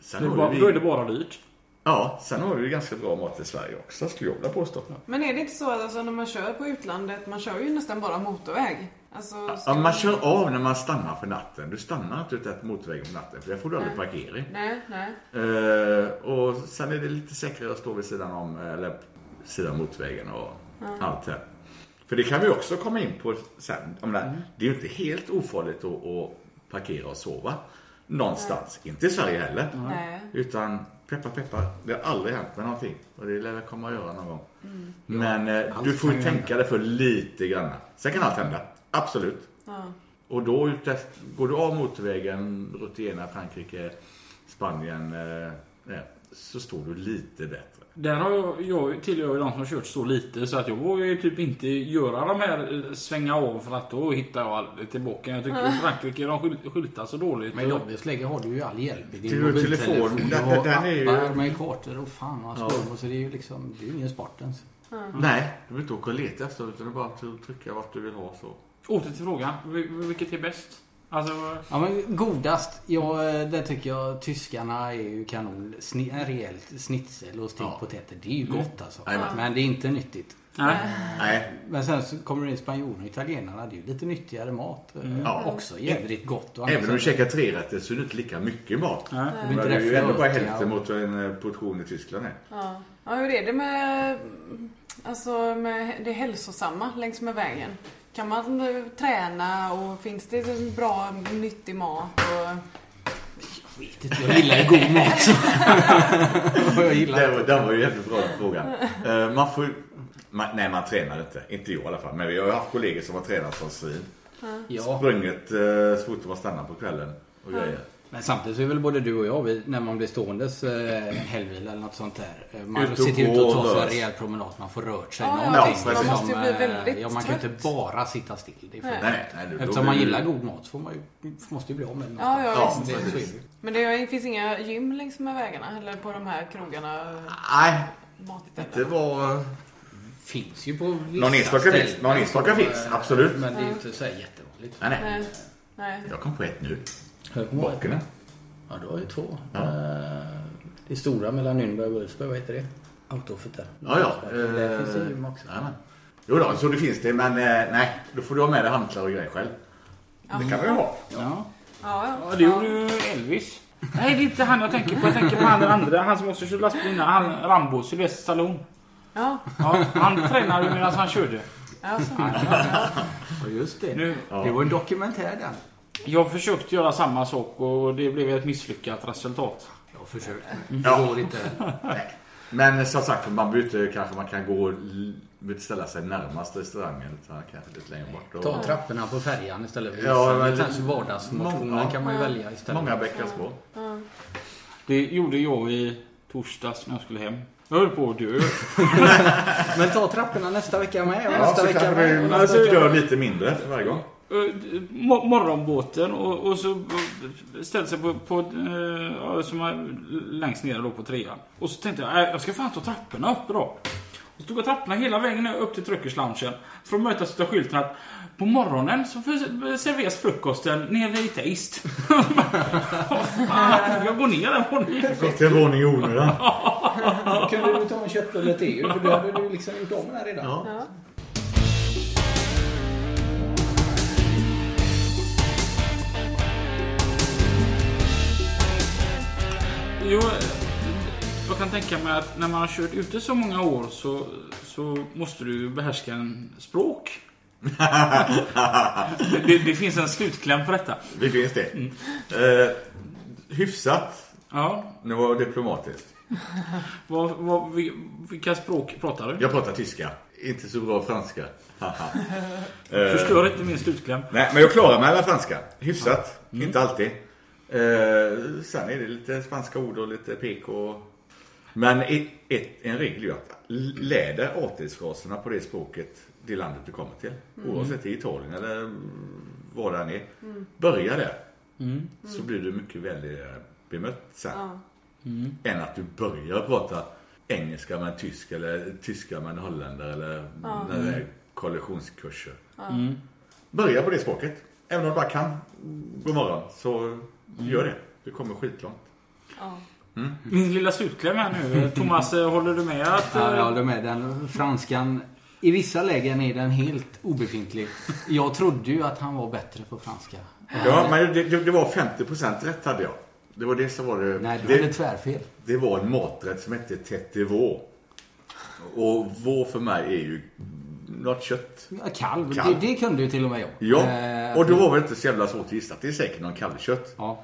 Sen
Det är
har
bara-
vi,
Då är det bara dyrt.
Ja, sen har vi ju ganska bra mat i Sverige också skulle jag vilja påstå.
Men är det inte så att alltså, när man kör på utlandet, man kör ju nästan bara motorväg? Alltså, ska
Ja, man kör av när man stannar för natten. Du stannar inte ute efter motorvägen på natten för där får du aldrig parkering.
Nej, nej.
Eh, och sen är det lite säkrare att stå vid sidan om, eller sidan motorvägen och allt det här. För det kan vi också komma in på sen. Om det,
Mm.
här. det är ju inte helt ofarligt att, att parkera och sova någonstans. Inte i Sverige heller.
Nej.
Utan peppa peppa, det har aldrig hänt med någonting. Och det lär väl komma att göra någon gång.
Mm.
Men eh, du får ju tänka dig för lite grann. Sen kan allt hända. Absolut.
Ja.
Och då utef- går du av motorvägen, Rutena, Frankrike, Spanien, eh, eh, så står du lite bättre.
Där har jag, jag tillhör ju de som har kört så lite så att jag vågar ju typ inte göra de här eh, svänga av för att då hittar jag aldrig tillbaka. Jag tycker i Frankrike de skyl- skyltar så dåligt.
Men i jobbigast läge har du ju all hjälp i din
Till
mobiltelefon.
telefon.
Du
Den-
har
den är ju-
appar med kartor och fan och storm och så det är ju liksom, det är ju ingen sport ens.
Nej, du behöver inte åka och leta efter utan det är bara att trycka vart du vill ha så.
Åter till frågan. Vil- Vilket är bäst? Alltså,
Ja men godast, ja det tycker jag tyskarna är ju kanon. Sni, en rejäl snitsel och stekt
Ja. Mm.
potäter, det är ju gott alltså.
Jajamän.
Men det är inte nyttigt.
Mm.
nej.
Nej,
Men sen så kommer du in spanjorerna och italienarna, det är ju lite nyttigare mat. eh,
Mm. Ja.
Också jävligt gott. och
även om du
annars-
käkar tre rätter så är det inte lika mycket mat.
nej.
Det är
Men
inte
det är ju
därför
ändå
jag
bara
åker,
hälften
ja.
mot en eh, portion i Tyskland. Här.
Ja. ja, hur är det med, alltså, med det hälsosamma längs med vägen? Kan man eh, träna och finns det bra, nyttig mat? Och...
Vet inte, Jag gillar ju god mat. Och jag gillar
Det var, det var ju jättebra den frågan. Eh, Man får ju... Man, nej, man tränar inte. Inte jag i alla fall. Men vi har ju haft kollegor som har tränat som svin.
Ja.
Sprungit eh, så fort de har stannat på kvällen och grejer.
Men samtidigt så är väl både du och jag, vi, när man blir ståendes eh, en helgvila eller något sånt där. eh, Man
Ut och
sitter
gå
ut och
och
tar sig en
rörs.
rejäl promenad. Man får rört sig
Ja, ja,
ja,
någonting.
man
liksom,
måste ju bli
eh,
väldigt
ja, man kan ju
trött.
inte bara sitta still. Det är för...
Nej.
Nej, nej, då
Eftersom
blir
man
det-
gillar god mat så får man ju, måste ju bli av med den
Ja, ja,
Ja,
visst.
någonstans. det, så är det. ju.
Men det är- finns inga gym längs med vägarna eller på de här krogarna?
Nej, det
Matställen?
var... eh,
Finns ju på vissa
Någon enstaka
ställen.
finns. Någon enstaka finns, absolut.
Men det är ju inte så här jättevanligt.
Eh, Nej, nej.
Nej. Nej.
Jag kom på ett nu.
Jag kommer ihåg ett-
Bakerna.
Ja, du har ju två. Eh, Det stora mellan Nürnberg och Ulsberg, vad heter det? Autofet där.
Ja, ja.
Där
eh,
finns det gym också.
jajamän. Jo då, så det finns det. Men eh, nej, då får du ha med dig hantlar och grejer själv. Det kan man ju ha.
Ja.
Ja, ja.
Ja, det gjorde ju Elvis. Nej, det är inte han jag tänker på. Jag tänker på han den andra. Han som också körde lastbil innan. Han, Rambo, Sylvester Stallone.
Ja,
Ja, han tränade ju medan han körde.
ja, så.
Ja, just det.
Nu,
Det var en dokumentär den.
jag försökte göra samma sak och det blev ett misslyckat resultat.
Jag försökte.
Ja.
Det går inte.
Nej. Men eh, som sagt, man byter kanske. Man kan gå l- ställa sig närmast restaurangen. Utan kanske lite längre bort.
Ta
Och,
trapporna på färjan istället. för
Ja,
hissen.
men-
Kanske vardagsmotioner
Många-
kan man ju välja istället.
många bäckar små.
Det gjorde jag i torsdags när jag skulle hem. Jag höll på att dö.
Men ta trapporna nästa vecka med. Och
Ja,
nästa
så
vecka
kan vi
med. och nästa
Alltså-
vecka.
dö lite mindre för varje gång.
Eh, mo- morgonbåten och, och så eh, ställde sig på, på eh, ja, som är längst ner då på trean. Och så tänkte jag, äh, jag ska fan ta trapporna upp då. Och så tog jag trapporna hela vägen upp till truckersloungen. För att mötas av skylten att på morgonen så för- serveras frukosten nere i Taste. Vad fan, jag går ner en våning.
Gått en våning i onödan.
Kunde du ta en köttbulle till? För då hade du liksom gjort av med den redan.
Ja.
Ja.
Jo, jag kan tänka mig att när man har kört ute så många år så, så måste du ju behärska en språk. det, det finns en slutkläm på detta.
Det finns det. Eh, hyfsat.
Ja,
Nu var det diplomatiskt.
vad, vad, vil- vilka språk pratar du?
Jag pratar tyska. Inte så bra franska. Haha.
Förstör inte min slutkläm.
Nej, men jag klarar mig med franska. Hyfsat. Inte alltid. Eh, sen är det lite spanska ord och lite pek och... Men ett, ett, en regel är ju att l- lär dig artighetsfraserna på det språket, det landet du kommer till. Oavsett i Italien eller mm, var det än är. Börja där.
Mm.
så blir du mycket väl eh, bemött sen.
Ja.
Mm.
Än att du börjar prata engelska med en tysk eller tyska med en holländare eller när det är kollisionskurser.
Mm.
Börja på det språket. Även om du bara kan god morgon så gör det. Du kommer skitlångt.
Ja.
Min lilla slutkläm här nu. Thomas, eh, håller du med att... eh,
Ja, jag håller med. Den franskan, i vissa lägen är den helt obefintlig. Jag trodde ju att han var bättre på franska.
Ja, men det, det, det var 50% rätt hade jag. Det var det som var det.
Nej, du
det,
hade tvärfel.
det var en maträtt som hette tete vår. Och vår för mig är ju något kött.
Ja, Kalv,
Kalv.
Det, det kunde ju till och med jag.
Ja,
Eh,
och då var det inte så jävla svårt att gissa. Det är säkert någon kalvkött.
ja.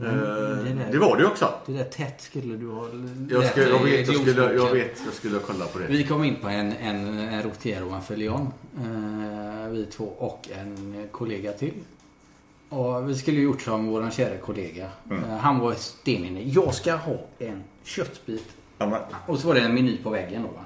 Eh,
där-
det var det ju också.
Det där tätt skulle du ha
Jag,
lärt
skulle, jag,
dig i
vet, jag, skulle, jag
glosboken.
vet, jag skulle kolla på det.
Vi kom in på en, en, en rotier och en följon. Eh, vi två och en kollega till. Och vi skulle ju gjort som våran kära kollega.
Mm.
Eh, han var steninne. Jag ska ha en köttbit.
Ja, men,
Och så var det en meny på väggen då va.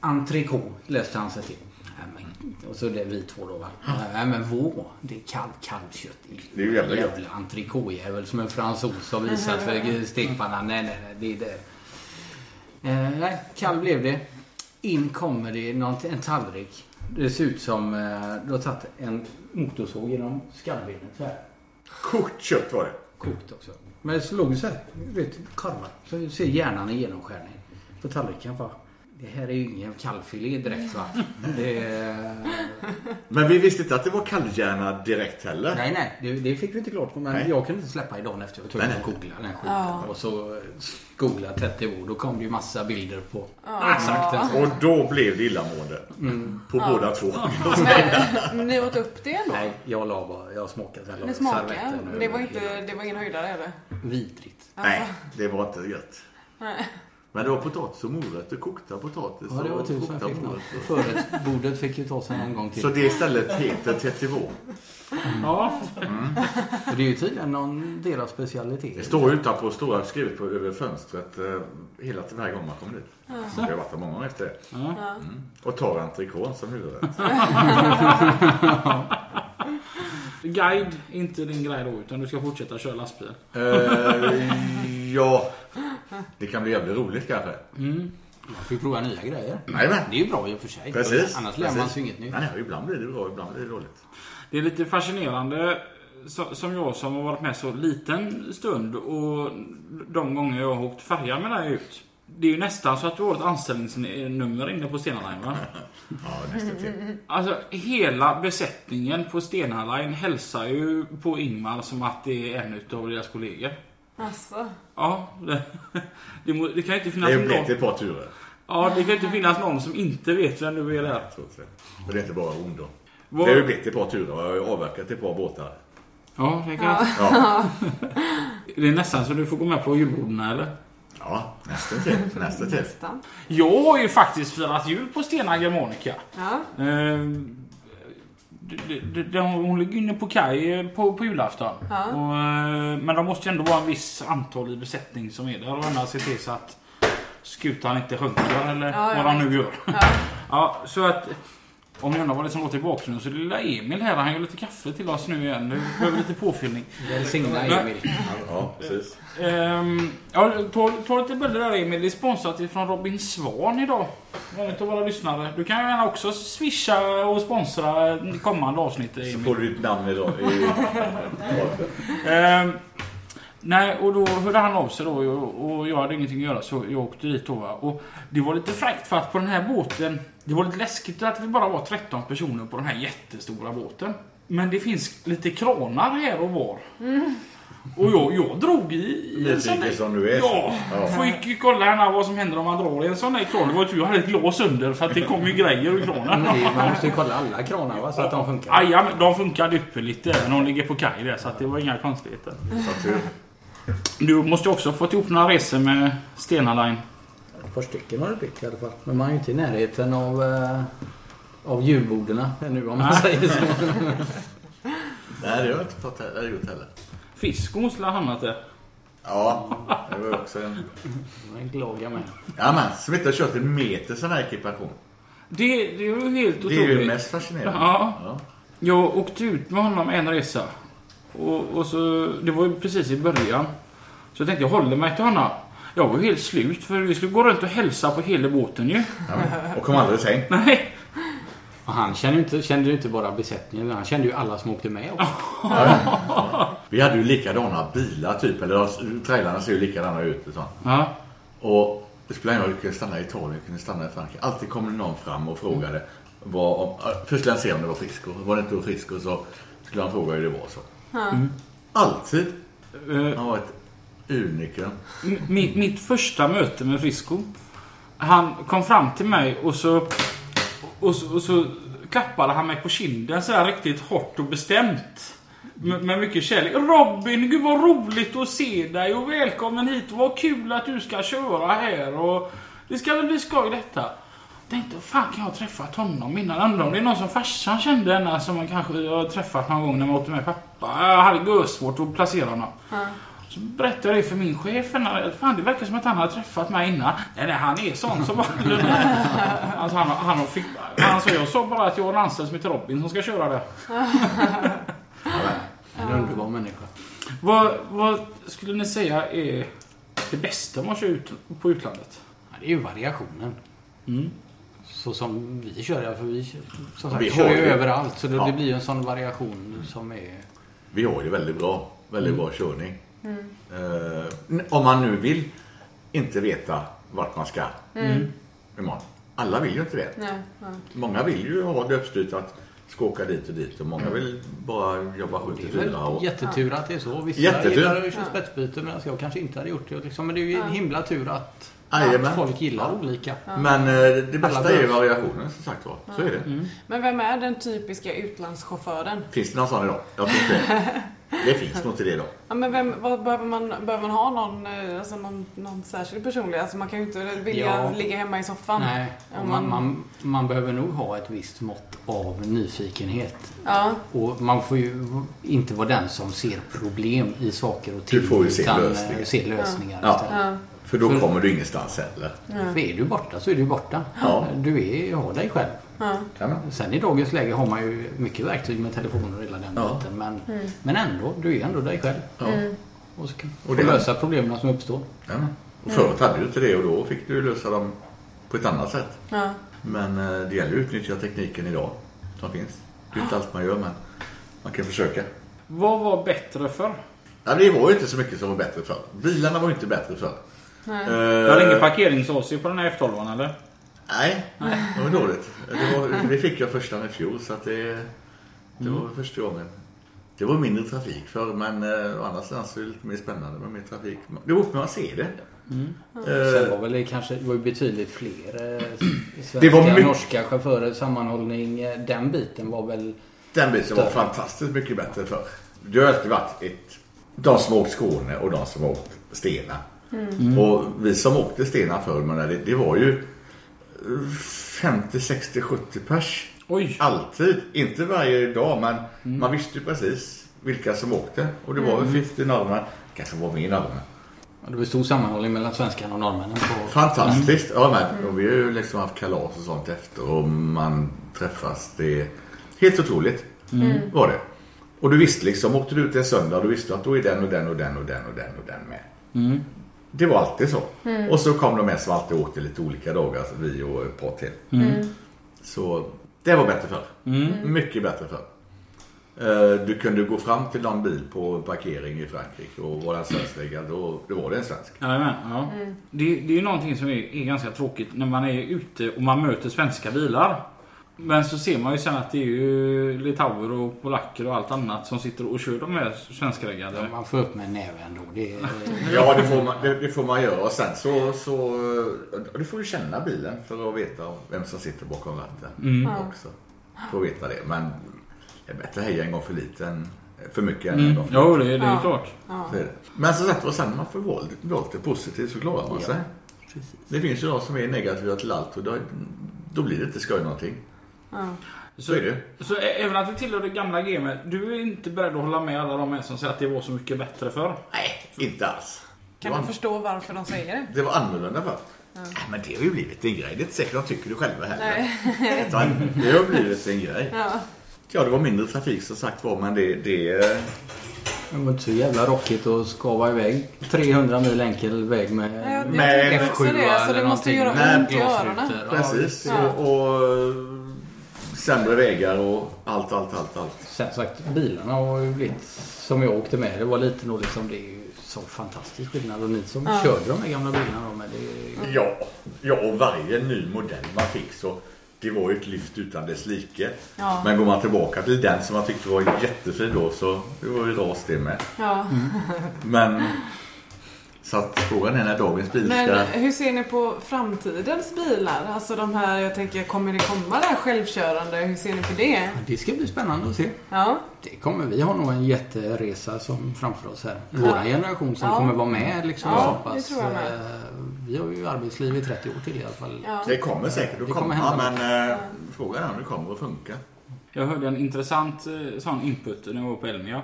Entrecote läste han sig till. Nej, men- Och så det är vi två då va. Nej men vår, det är kalv, kalvkött.
Det är ju jävla gött.
jävla entrecôtejävel som en fransos har visat för stekpannan. Nej nej nej, det är det. Eh, nej, kalv blev det. In kommer det någon, en tallrik. Det ser ut som eh, du har tagit en motorsåg genom skallbenet så här.
kokt kött var det.
Kokt också. Men så låg det så här, du vet, korvar. Så ser hjärnan i genomskärning på tallriken. Va? Det här är ju ingen kalvfilé direkt va? Det,
Men vi visste inte att det var kalvhjärna direkt heller.
nej, nej, det, det fick vi inte klart på. Men
Nej.
jag kunde inte släppa idag efter. Jag tog
Nej,
och googlade den skiten.
Ja.
Och så eh, googlade 30 ord. Då kom det ju massa bilder på exakt den.
Och då blev det illamående.
Mm.
På båda två.
Men ni åt upp det ändå?
Nej, jag la bara, jag smakade sen. la
Ni smakade?
servetten över
Det var,
hela.
inte, det var ingen höjdare eller?
Vidrigt.
Nej, det var inte gött. Men det var potatis och morötter, kokta potatis
Ja, det var
och
tur som
kokta
jag fick något.
morötter.
Förrättsbordet fick ju ta sig en gång till.
Så det istället heter tetivå.
Ja.
För det är ju tydligen någon deras specialitet.
Det står ju utanpå stora skrivet på över fönstret eh, hela till varje gång man kommer dit. Det har varit där många gånger efter det. Mm. Och tar entrecôte som huvudrätt.
Guide, inte din grej då. Utan du ska fortsätta köra lastbil.
Eh, ja, det kan bli jävligt roligt kanske.
Man får ju prova nya grejer.
Nej, men.
Det är ju bra i och för sig.
Precis.
Annars lär man
Precis.
sig inget nytt.
Nej, nej, ibland blir det bra, ibland blir det dåligt.
Det är lite fascinerande så- som jag som har varit med så liten stund och de gånger jag har åkt färja med dig ut. Det är ju nästan så att du har ett anställningsnummer inne på Stena Line va?
Ja, nästan till.
Alltså hela besättningen på Stena Line hälsar ju på Ingmar som att det är en utav deras kollegor.
Alltså.
Ja, det, det, må- det kan ju inte finnas
Det blev
någon.
till ett par turer.
Ja, det kan ju inte finnas någon som inte vet vem du är där.
Så att säga. Och det är inte bara ondo. Det
Vad-
har ju blivit ett par turer och jag har ju avverkat ett par båtar.
Ja, det kan
Ja,
Det är nästan så du får gå med på julborden eller?
ja nästan till. Nästan till.
Nästan.
Jag har ju faktiskt firat jul på Stena Germanica.
Ja.
Ehm, d- d- d- Hon ligger inne på kaj eh, på, på julafton.
Ja.
Och, eh, men de måste ju ändå vara en viss antal i besättning som är där och annars se till så att skutan inte sjunker eller
Ja, ja,
vad de nu gör. Ja. så att om ni undrar vad det är som låter i bakgrunden så är det lilla Emil här. Han gör lite kaffe till oss nu igen. Nu behöver vi lite påfyllning.
Välsigna Emil.
Ja, precis.
Ehm, ja, ta, ta lite bilder där Emil. Det är sponsrat ifrån Robin Svan idag. En av våra lyssnare. Du kan gärna också swisha och sponsra kommande avsnitt
Så
Emil.
får du ditt namn idag. i-
Ehm, nej, och då hörde han av sig då och, och jag hade ingenting att göra så jag åkte dit då. va. Och det var lite fräckt för att på den här båten, det var lite läskigt att vi bara var 13 personer på den här jättestora båten. Men det finns lite kranar här och var. Och jag, jag drog i... i en sån
Nyfiken
där-
som du är.
Ja,
Ja.
får ju- ju kolla här vad som händer om man drar i en sån där kran. Det var ju tur jag hade ett lås under för att det kom ju grejer ur kranen.
Men det
Mm.
är- Man måste ju kolla alla kranar va, så att de funkar.
Aj, ja, men de funkade ypperligt även om de ligger på kaj där så att det var inga konstigheter.
Så tur.
Du måste ju också ha fått ihop några resor med Stena Line.
Ett par stycken har du byggt i alla fall. Men man är ju inte i närheten av, eh, av julborden ännu om man säger så.
Nej, det har jag inte fått he- eller gjort heller.
Fisk måste ha hamnat där.
Ja, det var också en...
Jag är glad jag med.
Ja, men som inte har kört en meter sån här ekipation.
Det, det är ju helt
Det är ju
otroligt.
mest fascinerande.
Ja.
Ja.
Jag åkte ut med honom en resa. Och, och så, det var ju precis i början. Så jag tänkte jag håller mig till honom. Jag var ju helt slut för vi skulle gå runt och hälsa på hela båten ju.
Och kom aldrig i säng.
Nej.
Och han kände ju inte, kände ju inte bara besättningen, han kände ju alla som åkte med också.
Vi hade ju likadana bilar typ. Eller de- trailarna ser ju likadana ut. Och, sånt.
Ja.
och det spelar ingen roll, vi kunde stanna i Italien, vi kunde stanna i Frankrike. Alltid kom det någon fram och frågade. Vad, om, äh, först skulle han se om det var Frisco. Var det inte då Frisco så skulle han fråga hur det var så. Alltid.
Eh,
Han var ett unikum.
M- mitt, mitt första möte med Frisco. Han kom fram till mig och så, och så, och så klappade han mig på kinden så här riktigt hårt och bestämt. Med, med mycket kärlek. Robin, gud vad roligt att se dig och välkommen hit. Vad kul att du ska köra här och det ska väl bli skoj detta. Tänkte, fan kan jag ha träffat honom innan? Undrar om det är någon som farsan kände henne som man kanske har träffat någon gång när man åkte med pappa. Jag hade svårt att placera honom. Så berättade jag det för min chef. henne. Fan, det verkar som att han har träffat mig innan. Nej, nej, han är sån som vanligt. alltså, han, han fick, alltså, jag sa bara att jag har en anställd som heter Robin som ska köra det.
En underbar människa.
Vad, vad skulle ni säga är det bästa med att köra ut på utlandet?
Ja, det är ju variationen.
Mm.
Så som vi kör, ja, för vi kör, som sagt,
vi
vi kör
har
ju
ju-
överallt. Så det,
Ja.
det blir ju en sån variation som är...
Vi har det väldigt bra. Väldigt bra körning. Eh, om man nu vill inte veta vart man ska imorgon. Alla vill ju inte det.
Nej, ja.
Många vill ju ha dödsstyrt att ska åka dit och dit och många vill bara jobba 7
Mm. Det
till
är väl
4 och
jättetur att det är så. Vissa
Jättetur.
gillar att köra spetsbyte medan jag kanske inte hade gjort det. Liksom, men det är ju en himla tur att,
Jajamän.
att folk gillar olika.
Men eh, det bästa
Alla
är ju
behövs. Mm.
variationen som sagt var. Så är det.
Men vem är den typiska utlandschauffören?
Finns det någon sån idag? Jag tror inte det. Det finns nog inte det idag.
Ja, men vem, vad behöver, man, behöver man ha någon, eh, alltså någon, någon särskild personlig? Alltså man kan ju inte vilja
Ja.
ligga hemma i soffan.
Nej,
Ja,
och man,
men-
man, man behöver nog ha ett visst mått av nyfikenhet.
Ja,
Och man får ju inte vara den som ser problem i saker och ting.
Du får ju se
utan, eh,
lösningar.
se lösningar
Ja.
istället.
ja.
För
Mm.
då kommer du ingenstans heller.
För är du borta så är du borta.
Ja.
Du är, har dig själv.
Kan man?
Sen i dagens läge har man ju mycket verktyg med telefoner och hela den
Ja.
biten. Men,
Mm.
men ändå, du är ändå dig själv.
Ja.
Och ska
Och
och
det-
lösa problemen som uppstår.
Ja. Och
Mm.
förut hade du inte det och då fick du lösa dem på ett annat sätt.
ja.
Men eh, det gäller att utnyttja tekniken idag som finns. Det är inte allt man gör men man kan försöka.
Vad var bättre för?
Ja, det var ju inte så mycket som var bättre förr. Bilarna var ju inte bättre förr.
Nej.
Jag hade ingen
Eh,
parkeringsåsig på den här f 12 eller?
nej, det var dåligt. Det, var, det fick jag första med fjol så att det, det var första gången. Det var mindre trafik förr men eh, å andra sidan så är det lite mer spännande med mer trafik. Det beror på hur man ser det.
Sen
Eh,
var väl det kanske det var ju betydligt fler eh, s- svenska,
Det var mycket-
norska chaufförer, sammanhållning. eh, Den biten var väl...
Den biten var fantastiskt mycket bättre för. Det har alltid varit ett, de som har åkt Skåne och de som har åkt Stena. Och vi som åkte Stena förr, men det, det var ju eh, 50, 60, 70 pers.
Oj!
Alltid. Inte varje dag, men man visste ju precis vilka som åkte. Och det var ju 50 norrmän. kanske var mer norrmän.
Det var stor sammanhållning mellan svenskarna och norrmännen. På,
Fantastiskt. Ja, men, och vi har ju liksom haft kalas och sånt efter och man träffas. Det är helt otroligt var det. Och du visste liksom, åkte du ut en söndag, du visste att då är den och den och den och den och den och den med. Mm. Det var alltid så. Och så kom de med som alltid åkte lite olika dagar, alltså vi och ett par till.
Mm.
Mm.
Så det var bättre förr. Mycket bättre förr. Eh, Du kunde gå fram till någon bil på en parkering i Frankrike och var den svenskliggad då, då var det en svensk.
Jajamän, ja. Det, det är ju någonting som är, är ganska tråkigt när man är ute och man möter svenska bilar. Men så ser man ju sen att det är ju litauer och polacker och allt annat som sitter och kör de här svenskreggade.
Mm.
man får upp med en näve ändå. Det, är-
Ja, det får, man, det, det får man göra. Och sen så, så... Du får ju känna bilen för att veta vem som sitter bakom ratten.
Mm.
Också. Får veta det. Men det är bättre att heja en gång för lite än för mycket än en gång för
Mm. Jo, det, det är
Ja.
klart.
Ja.
så är det. Men som sagt var, sen när man får vara lite- vara lite positiv så klarar man sig. Det finns ju de som är negativa till allt och då, då blir det inte skoj någonting.
Ja.
Så är det.
Så ä- även att det tillhör det gamla gamet, du är inte beredd att hålla med alla de här som säger att det var så mycket bättre förr?
Nej, inte alls.
Kan
det,
man
var,
förstå varför de säger det?
det var annorlunda förr. Nej, Men det har ju blivit en grej. Det är inte säkert de tycker det själva heller.
Nej.
Utan det har blivit en grej.
Ja.
Ja, det var mindre trafik som sagt var, men det... det
Det var inte så jävla rockigt att skava iväg 300 mil enkel väg
Nej,
med...
jag,
Men-
jag tänker också det. Alltså, det måste göra
Nej,
ont i öronen.
precis.
Ja.
Och, och sämre vägar och allt, allt, allt, allt.
Sen sagt, bilarna har ju blivit som jag åkte med. Det var lite nog liksom, det är ju så fantastisk skillnad. Och ni som
Ja.
körde de här gamla bilarna då, men det är ju...
Ja, ja, och varje ny modell man fick så det var ju ett lyft utan dess like.
Ja.
Men går man tillbaka till den som man tyckte var jättefin då så det var ju ras det med.
Ja.
Mm.
Men så att frågan är när dagens bil ska...
Men eh, hur ser ni på framtidens bilar? Alltså de här, jag tänker, kommer det komma det här självkörande? Hur ser ni på det?
Det ska bli spännande att se.
Ja,
Det kommer, vi har nog en jätteresa som framför oss här. Vår generation som
Ja.
kommer vara med liksom
Ja,
så
det
pass.
tror jag med.
eh, Vi har ju arbetsliv i 30 år till i alla fall.
ja.
Det kommer säkert att
Det kommer
komma,
hända
men eh, frågan är om det kommer att funka.
Jag hörde en intressant eh, sån input när jag var på Elmia.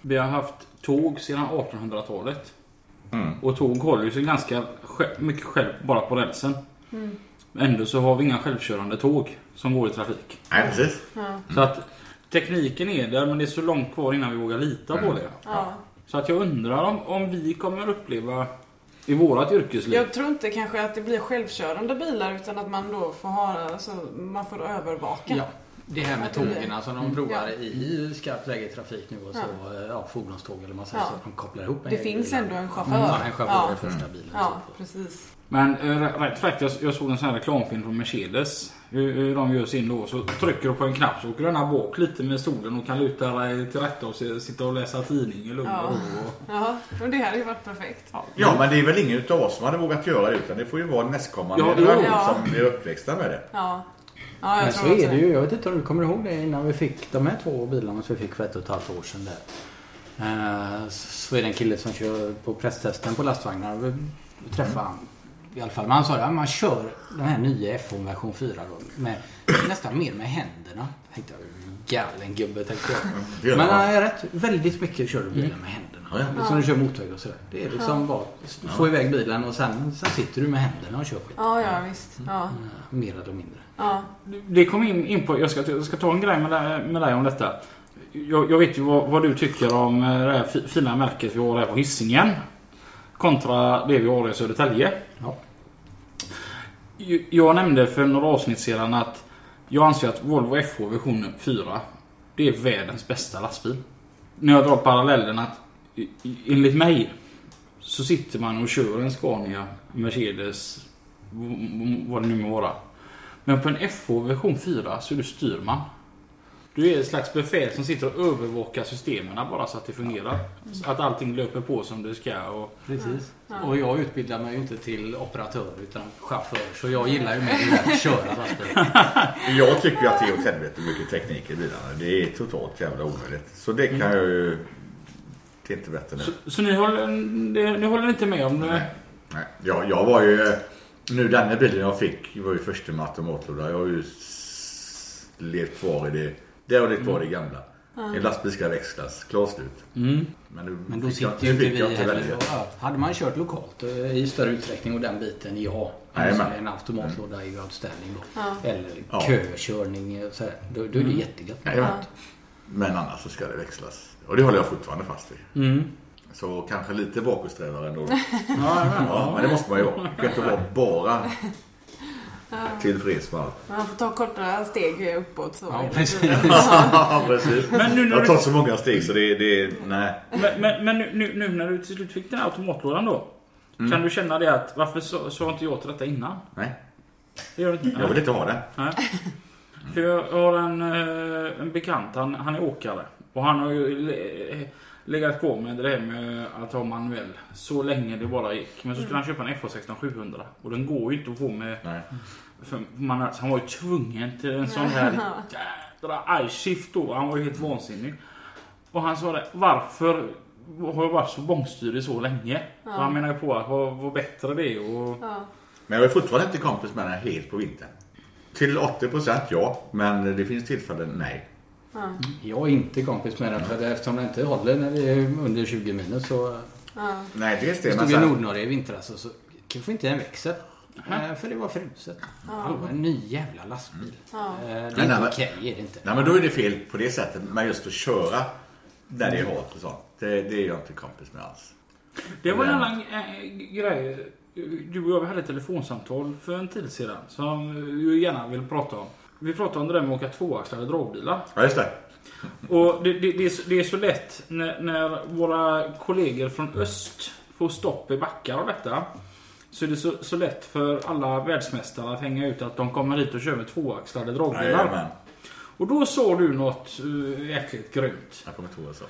Vi har haft tåg sedan 1800-talet.
Mm.
Och tåg håller ju sig ganska sj- mycket själv bara på rälsen. Mm. Ändå så har vi inga självkörande tåg som går i trafik.
Nej, precis.
Så att tekniken är där men det är så långt kvar innan vi vågar lita på det.
ja.
Mm.
Så att jag undrar om, om vi kommer uppleva i vårat yrkesliv.
Jag tror inte kanske att det blir självkörande bilar utan att man då får ha, alltså, man får övervaka.
Ja, det här med
Att det blir-
tågen som de provar
Ja.
i skarpt läge i trafik nu och så, ja. Ja, fordonståg eller vad man säger
Ja.
så, att de kopplar ihop en
Det
grej
finns
i bilen.
ändå en chaufför.
Ja, Mm, en chaufför i
ja.
första bilen.
ja precis.
Men eh, rä- rätt fräckt, jag, jag såg en sån här reklamfilm från Mercedes. Hur, hur de gör sin lås. Så trycker du på en knapp så åker den här bak lite med stolen och kan luta dig till rätta och se, sitta och läsa tidning i lugn
Ja.
och ro. Och,
Ja, men det hade ju varit perfekt.
Ja, men det är väl ingen utav oss som hade vågat göra det utan det får ju vara nästkommande
Ja,
generation
ja.
som blir uppväxta med det.
Ja, ja jag
Men
tror
så är
också
det ju. Jag vet inte om du kommer ihåg det innan vi fick de här två bilarna som vi fick för ett och ett halvt år sedan. Där. Eh, Så är det en kille som kör på presstesten på lastvagnar. Vi träffade han. I alla fall, men han sa att man kör den här nya F1 version 4 då, med, nästan mer med händerna. Tänkte jag, galen gubbe tänkte
Ja.
jag. Men han är rätt, väldigt mycket kör du bilen med händerna.
Ja, ja.
Som du kör motorväg och sådär. Det är liksom bara få iväg bilen och sen, sen sitter du med händerna och kör skit. Eh,
Ja, ja visst.
Mm.
Ja,
Mer eller mindre.
ja.
Det kom in, in på, jag ska, jag ska ta en grej med, dig- med dig om detta. Jag, jag vet ju vad, vad du tycker om eh, det här fi- fina märket vi har här på Hisingen. Kontra det vi har i Södertälje.
Ja.
Ju- Jag nämnde för några avsnitt sedan att jag anser att Volvo FH version 4 det är världens bästa lastbil. När jag drar parallellen att i- i- enligt mig så sitter man och kör en Scania, Mercedes, v- v- vad det nu må vara. Men på en FH version 4 så är du styrman. Du är ett slags befäl som sitter och övervakar systemen bara så att det fungerar. Så Att allting löper på som det ska. Och...
Precis. Och jag utbildar mig ju inte till operatör utan chaufför. Så jag gillar ju mer att köra lastbil.
Jag tycker ju att det är åt helvete mycket teknik i bilarna. Det är totalt jävla omöjligt. Så det kan jag ju... Det är inte bättre nu.
Så, så ni, håller, ni, ni håller inte med om det?
Nej. Ja, jag var ju... Nu den här bilen jag fick var ju första med automatlåda. Jag har ju s- levt kvar i det... Det har levt kvar i det gamla. En lastbil ska växlas. Klar slut.
Mm,
Men, nu
Men då
fick jag-
sitter ju
nu
inte
fick jag
vi
välja.
heller och ö- Hade man kört lokalt eh, i större utsträckning och den biten, ja. Alltså,
Jajamän.
en automatlåda är ju outstanding då. Eller
Ja. Mm.
kökörning och sådär. Då, då är det jättegött.
Jajamän. Men annars så ska det växlas. Och det håller jag fortfarande fast vid.
mm.
Så kanske lite bakåtsträvare ändå. ja, men det måste man ju vara. Man kan inte vara bara tillfreds med allt.
Man får ta korta steg uppåt så.
Ja, precis.
Ja, precis.
Men nu när
jag har
du-
tagit så många steg så det, det nej.
Men, men, men nu, nu, nu när du till slut fick den här automatlådan då. Kan du känna det att varför sa sa inte jag till detta innan?
Mm. nej.
Det gör du inte.
Jag vill inte ha det.
För jag har en, eh, en bekant, han, han är åkare. Och han har ju le- legat på med det här med att ha manuell så länge det bara gick. Men så skulle han köpa en FH16 700 och den går ju inte att få med...
Nej.
För man, alltså, han var ju tvungen till en sån här jädra iShift då. Han var ju helt vansinnig. Och han sa det, varför har jag varit så bångstyrig så länge? Och han menar ju på att vad, vad bättre det är och...
Men jag är fortfarande inte kompis med den här helt på vintern. Till 80% ja, men det finns tillfällen nej.
Jag är inte kompis med den för det- eftersom den inte håller när vi är under 20 minus så
Nej, dels det.
stod
Men
vi i
sen,
Nordnorge i vintras och så kan vi få inte en växel. Eh, För det var fruset. Ja, en ny jävla lastbil.
Ja.
Eh, Det är
Nej, nej,
inte
men-
okej, är det inte.
Nej, men då är det fel på det sättet. Men just att köra när det är halt och sånt. Det, det är jag inte kompis med alls.
Det var en annan eh, grej. Du och jag hade ett telefonsamtal för en tid sedan som du gärna vill prata om. Vi pratade om det där med att åka tvåaxlade dragbilar.
Ja, just det.
Och det, det, det, är, så- det är så lätt när, när våra kollegor från öst får stopp i backar och detta. Så är det så, så lätt för alla världsmästare att hänga ut att de kommer hit och kör med tvåaxlade dragbilar.
Jajamän.
och då såg du något eh, jäkligt grymt.
Jag kommer inte ihåg vad jag sa.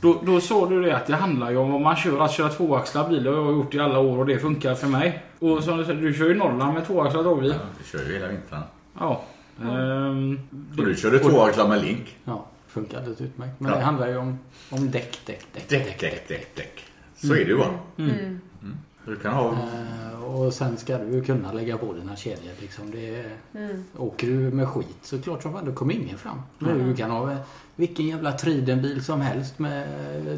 Då, då såg du det att det handlar ju om vad man kör. Att köra tvåaxlad bil det har jag gjort i alla år och det funkar för mig. Och som du säger, du kör ju Norrland med tvåaxlad dragbil.
Ja, Vi kör ju hela vintern.
Ja. Ehm,
Och du körde tvåaxlad med link.
Ja, funkar alldeles utmärkt. Men
Ja.
det handlar ju om, om däck, däck, däck.
Däck, däck, däck, däck. Så är det ju bara. Mm. Du kan ha...
Eh, Och sen ska du ju kunna lägga på dina kedjor. Liksom. Det är, Åker du med skit så klart som fan, då kommer ingen fram. Du kan ha eh, vilken jävla tridenbil som helst med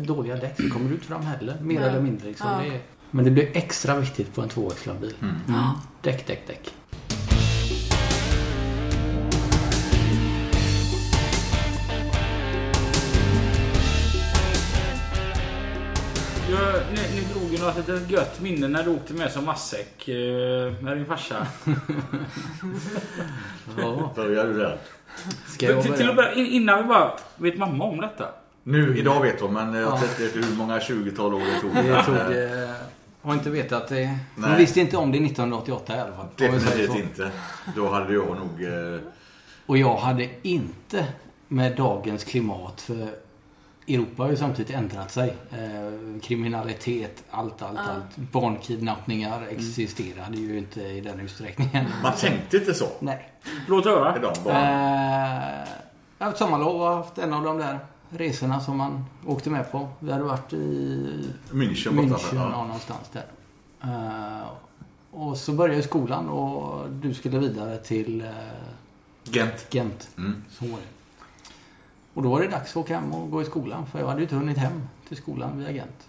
dåliga däck så kommer du inte fram heller. Mer
Nej.
eller mindre. Liksom.
Ja.
Det är, men det blir extra viktigt på en tvåväxlad bil. Mm. Däck, däck, däck.
jag, ni, ni drog ju något litet gött minne när du åkte med som matsäck eh, med din farsa.
Ja.
Börjar du där?
Ska jag
till, till och
börja?
med, in- innan vi bara, vet mamma om detta?
Nu, idag vet hon, men jag vet inte hur många 20-tal år det tog. Eh,
Jag tror det... eh, Har inte vetat det. Hon
Nej.
visste inte om det 1988 i alla fall. om vi säger
Definitivt
så.
inte. Då hade jag nog... Eh,
Och jag hade inte med dagens klimat för Europa har ju samtidigt ändrat sig. Eh, kriminalitet, allt, allt, allt. Barnkidnappningar existerade ju inte i den utsträckningen.
man tänkte inte så.
Nej.
Låt höra.
Idag bara.
Eh, jag har haft sommarlov och haft en av de där resorna som man åkte med på. Vi hade varit i
München borta.
München, ja.
Ja.
någonstans där. Eh, och så började ju skolan och du skulle vidare till eh,
Gent.
Gent.
Mm.
Så var det. Och då var det dags att åka hem och gå i skolan för jag hade ju inte hunnit hem till skolan via Gent.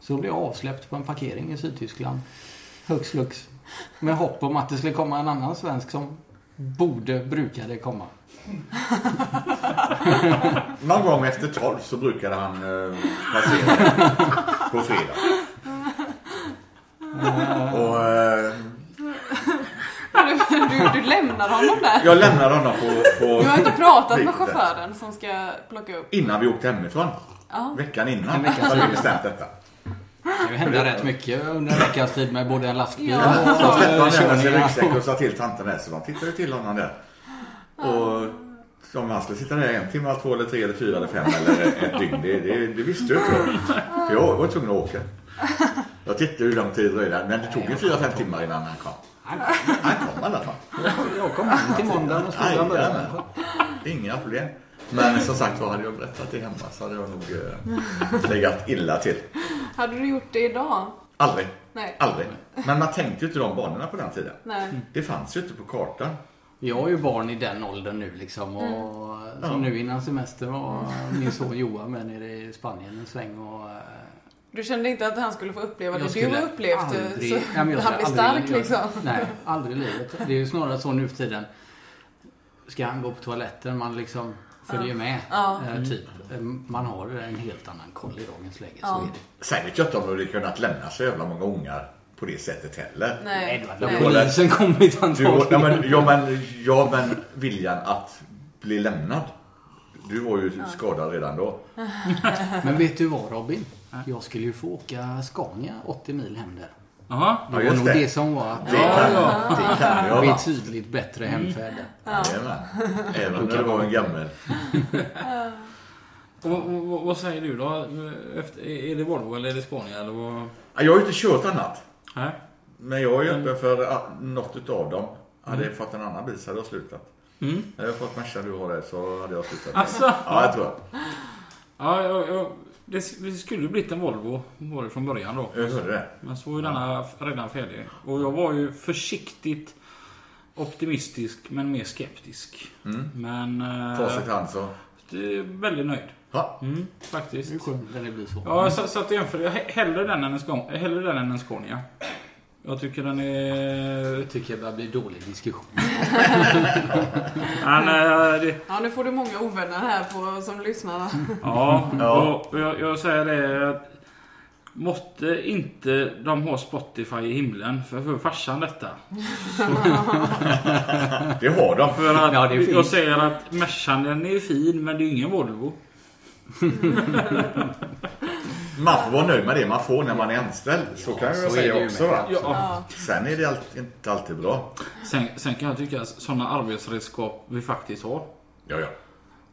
Så blev jag avsläppt på en parkering i Sydtyskland. Hux flux. Med hopp om att det skulle komma en annan svensk som borde, brukade komma.
Någon gång efter tolv så brukade han eh, passera på fredag. Och, eh,
Du, du, du lämnar honom där.
jag lämnade honom på, på
Du har inte pratat med
Lite.
chauffören som ska plocka upp.
innan vi åkte hemifrån.
Ja.
Veckan
En
innan
vecka
hade vi
senare.
bestämt detta.
Det kan ju hända rätt mycket under en veckas tid med både en lastbil
Ja.
och
Så tvättade han med sin
körningar.
ryggsäck och sa till tanten där, så de tittade till honom där. Och om han skulle sitta där en timme, eller två, eller tre, eller fyra, eller fem eller ett dygn, det, det, det visste jag inte. För jag var tvungen att åka. Jag tittade hur lång tid det dröjde, men det tog ju fyra, fem timmar innan han kom. Han kom i alla fall.
Jag kom hem till måndagen och skolan började.
Jajamän. Inga problem. Men som sagt var, hade jag berättat det hemma så hade jag nog eh, legat illa till.
Hade du gjort det idag?
Aldrig.
Nej.
Aldrig. Men man tänkte ju inte de banorna på den tiden.
Nej.
Det fanns ju inte på kartan.
Jag har ju barn i den åldern nu liksom. Och,
Ja.
Som nu innan semestern var min son Johan med nere i Spanien en sväng. Och, eh,
Du kände inte att han skulle få uppleva det
jag
du
skulle
har upplevt? eh,
aldrig-
så
Nej, men jag
han
skulle
blir
aldrig-
stark
jag-
liksom.
Nej, aldrig i livet. Det är ju snarare så nu för tiden. Ska han gå på toaletten? Man liksom följer med.
Ja.
Eh,
Mm.
typ. Man har en helt annan koll i dagens läge.
Ja.
Så är det.
Sen vet jag inte om de hade kunnat lämna så jävla många ungar på det sättet heller.
Nej.
Då
Nej.
hade polisen kommit
Du, ja,
antagligen.
men, ja, men, ja, men viljan att bli lämnad. Du var ju skadad redan då.
Men vet du vad Robin? Jag skulle ju få åka Scania 80 mil hem där.
Jaha.
Det
Ja, Mm.
var
just
nog
det.
det som var att
Det kan, det kan jag.
det är
Va?
tydligt bättre hemfärd.
Jajamän. Även när det var en gammal.
Och, och, och, vad säger du då? Eh, Efter, är det Volvo eller är det Scania? Eller vad?
Ja, Jag har ju inte kört annat.
Nej.
Men jag är ju öppen för ah, något utav dem. Hade jag fått en annan bil så hade jag slutat.
Mm.
Hade jag fått Merca du har det så hade jag slutat.
Alltså?
Ja, jag tror det.
Ja, jag, jag, det, det skulle ju blivit en Volvo var det från början då.
Jag hörde det.
Men så var ju denna redan färdig. Och jag var ju försiktigt optimistisk men mer skeptisk. Men... eh,
Facit i hand så.
det är väldigt nöjd.
Ja,
Mm, faktiskt.
Det är skönt när det blir så.
Ja, så, så att jämför jag hellre den än en Scania. Hellre den än en Scania. Jag tycker den är...
Jag tycker det börjar bli dålig diskussion.
Han, eh, det,
Ja, nu får du många ovänner här på, som lyssnar.
Mm.
ja,
Ja.
Och jag, jag säger det att Måtte inte de ha Spotify i himlen för, för farsan detta.
Det har de.
För att
Ja, det är fint.
jag säger att Mercan den är fin men det är ju ingen Volvo.
Man får vara nöjd med det man får när man är anställd. Så kan jag
så är det
säga
ju
också.
med.
Va?
Ja.
Sen är det allt, inte alltid bra.
Sen, sen kan jag tycka att sådana arbetsredskap vi faktiskt har.
Ja, ja.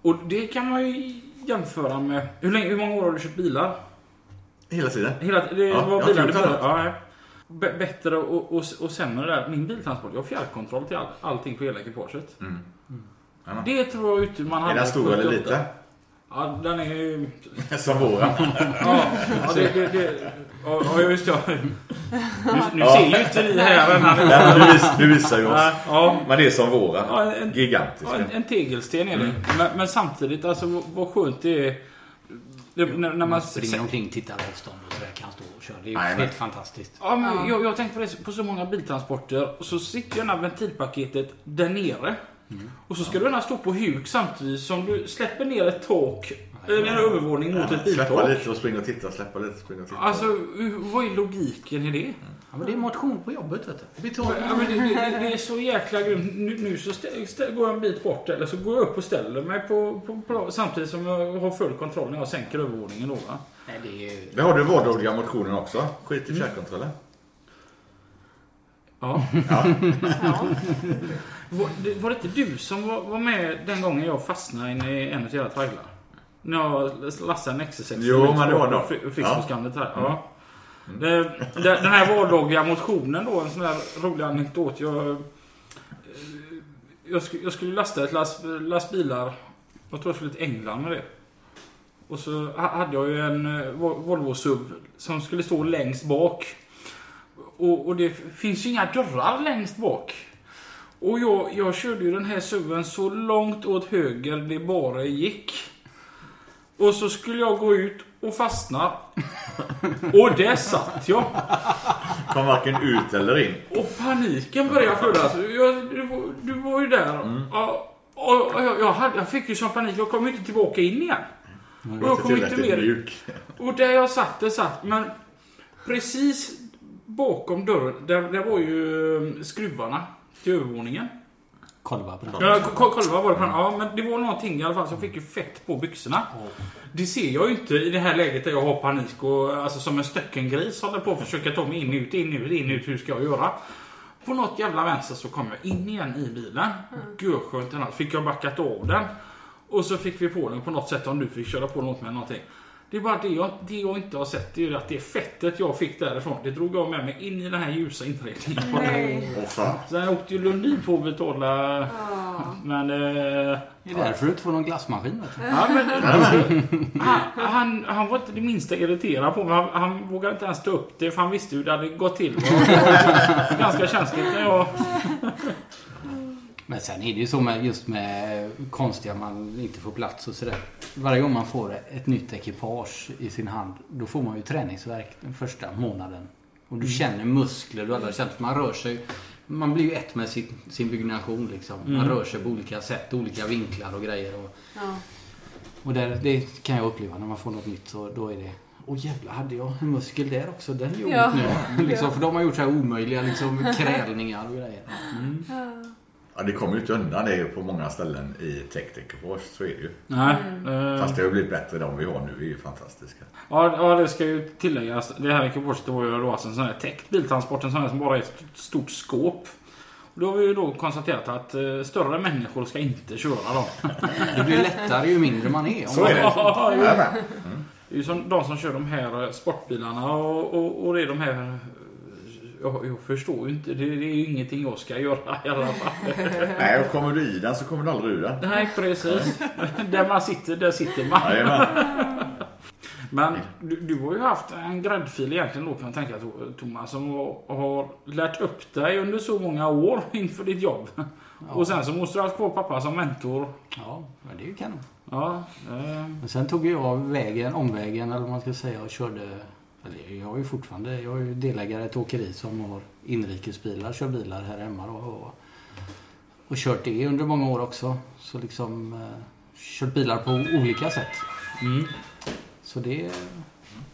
Och det kan man ju jämföra med... Hur, länge, hur många år har du köpt bilar?
Hela tiden.
Hela, det
Ja,
var
jag
bilar du
tror inte
förra. Ja, ja. B- bättre och, och, och sämre där. Min biltransport, jag har fjärrkontroll till all, allting på hela ekipaget.
Mm. Mm.
Det tror jag inte man hade...
Är den stor eller
78.
liten?
Ja, den är ju...
Som våran.
Ja, ja, det, det, det, ja, ja just det. Nu, nu
Ja.
ser ju inte ni här vem han är.
Nej, men du, vis, du visar ju oss.
Nej, Ja,
Men det är som
Ja,
våran.
en-
Gigantisk.
Ja, en, en tegelsten är det. Men, men samtidigt, alltså vad- vad skönt det är. Det, när, när man,
Springer omkring, tittar avstånd och sådär. Kan stå och köra. Det är ju
Nej, men-
helt fantastiskt.
ja, men jag, jag har tänkt på det på så många biltransporter. Och så sitter ju det här ventilpaketet där nere. Och så ska du gärna stå på huk samtidigt som du släpper ner ett tak, eller en övervåning mot ett
Släppa
biltak.
lite och springa och titta, släppa lite och springa och titta.
Alltså, hur- vad är logiken i det?
Ja, men det är motion på jobbet vet du. Betalt.
Ja, men det, det, det är så jäkla grymt. Nu, nu så stä, stä, går jag en bit bort eller så går jag upp och ställer mig på, på, på samtidigt som jag har full kontroll när jag sänker övervåningen då va.
Nej, det är ju...
Där har du vardagliga motionen också.
Mm.
Skit i fjärrkontrollen.
Ja.
Ja.
Var, det- var det inte du som var, var med den gången jag fastnade inne i en av era tragglar? När jag lastade en XC60
Jo,
runt
men det var
Stockholm
då.
och fi- fick
Ja. Mm.
på skammet här. Ja. Det, det, den här vardagliga motionen då, en sån här rolig anekdot. Jag, eh, jag, skulle, jag skulle lasta ett last, lastbilar. Jag tror jag skulle till England med det. Och så ha- hade jag ju en eh, Vol- Volvo SUV som skulle stå längst bak. Och, och det finns ju inga dörrar längst bak. Och jag, jag körde ju den här SUVen så långt åt höger det bara gick. Och så skulle jag gå ut och fastna. Och där satt jag.
Kom varken ut eller in.
Och paniken började födas. Jag, du, var- du var ju där.
Mm.
Ja, och, och jag, jag, hade, jag fick ju sån panik. Jag kom ju inte tillbaka in igen. Och jag
Inte
kom inte
tillräckligt
mer
mjuk.
och där jag satt, där satt. Men precis bakom dörren, där, där var ju eh, skruvarna till övervåningen.
Kolva på den.
Ja, ko- ko- kolla vad var det på den? Ja, men det var någonting i alla fall som fick ju fett på byxorna. Det ser jag ju inte i det här läget där jag har panik och alltså som en stöcken gris håller på att försöka ta mig in, ut, in, ut, in, ut. Hur ska jag göra? På något jävla vänster så kom jag in igen i bilen. Gud skönt annars. Fick jag backat av den. Och så fick vi på den på något sätt om du fick köra på något med någonting. Det är bara det jag, det jag inte har sett. Det är ju att det fettet jag fick därifrån. Det drog jag med mig in i den här ljusa inredningen.
Mm. Nej.
Åh fan.
Sen åkte ju Lundin på att betala
Ja.
men... Eh,
Det är därför du inte får någon glassmaskin vet du.
ja, men han, han, han var inte det minsta irriterad på mig. Han, han vågade inte ens ta upp det för han visste hur det hade gått till. Det var ganska känsligt när jag...
Men sen är det ju så med just med konstiga man inte får plats och sådär. Varje gång man får ett nytt ekipage i sin hand då får man ju träningsvärk den första månaden. Och du känner muskler du aldrig har känt. för Man rör sig. Man blir ju ett med sin, sin byggnation liksom. Man rör sig på olika sätt, olika vinklar och grejer. Och,
Ja.
Och där, det kan jag uppleva när man får något nytt. Så då är det Åh jävlar, hade jag en muskel där också? Den gör
Ja.
ont nu. Liksom, för de har gjort så här omöjliga liksom, krälningar och grejer.
Ja, det kommer ju inte undan det är ju på många ställen i tech-dekopage. Så är det ju.
Nej. Eh,
Fast det har ju blivit bättre. De vi har nu är ju fantastiska.
ja, ja, det ska ju tilläggas. Det här ekipaget var ju då alltså en sån här täckt biltransport. En sån här som bara är ett stort skåp. Och då har vi ju då konstaterat att eh, större människor ska inte köra dem.
Det blir lättare ju mindre man är. Om
Så är det.
Ja, jo.
Jajamän.
Det är ju som de som kör de här eh, sportbilarna och, och, och det är de här... eh, Jag, jag förstår ju inte. Det, det är ju ingenting jag ska göra i alla fall.
Nej, och kommer du i den så kommer du aldrig ur den.
Nej, precis. Där man sitter, där sitter man.
Jajamän.
Men du, du har ju haft en gräddfil egentligen då kan jag tänka To- Thomas som har, har lärt upp dig under så många år inför ditt jobb. Och sen så måste du ha haft kvar pappa som mentor.
Ja, men det är ju kanon.
Ja, eh,
Men sen tog jag vägen, omvägen eller vad man ska säga och körde Eller, Jag är ju fortfarande jag är ju delägare i ett åkeri som har inrikesbilar, kör bilar här hemma då, och, och kört det under många år också. Så liksom eh, kört bilar på olika sätt. Så det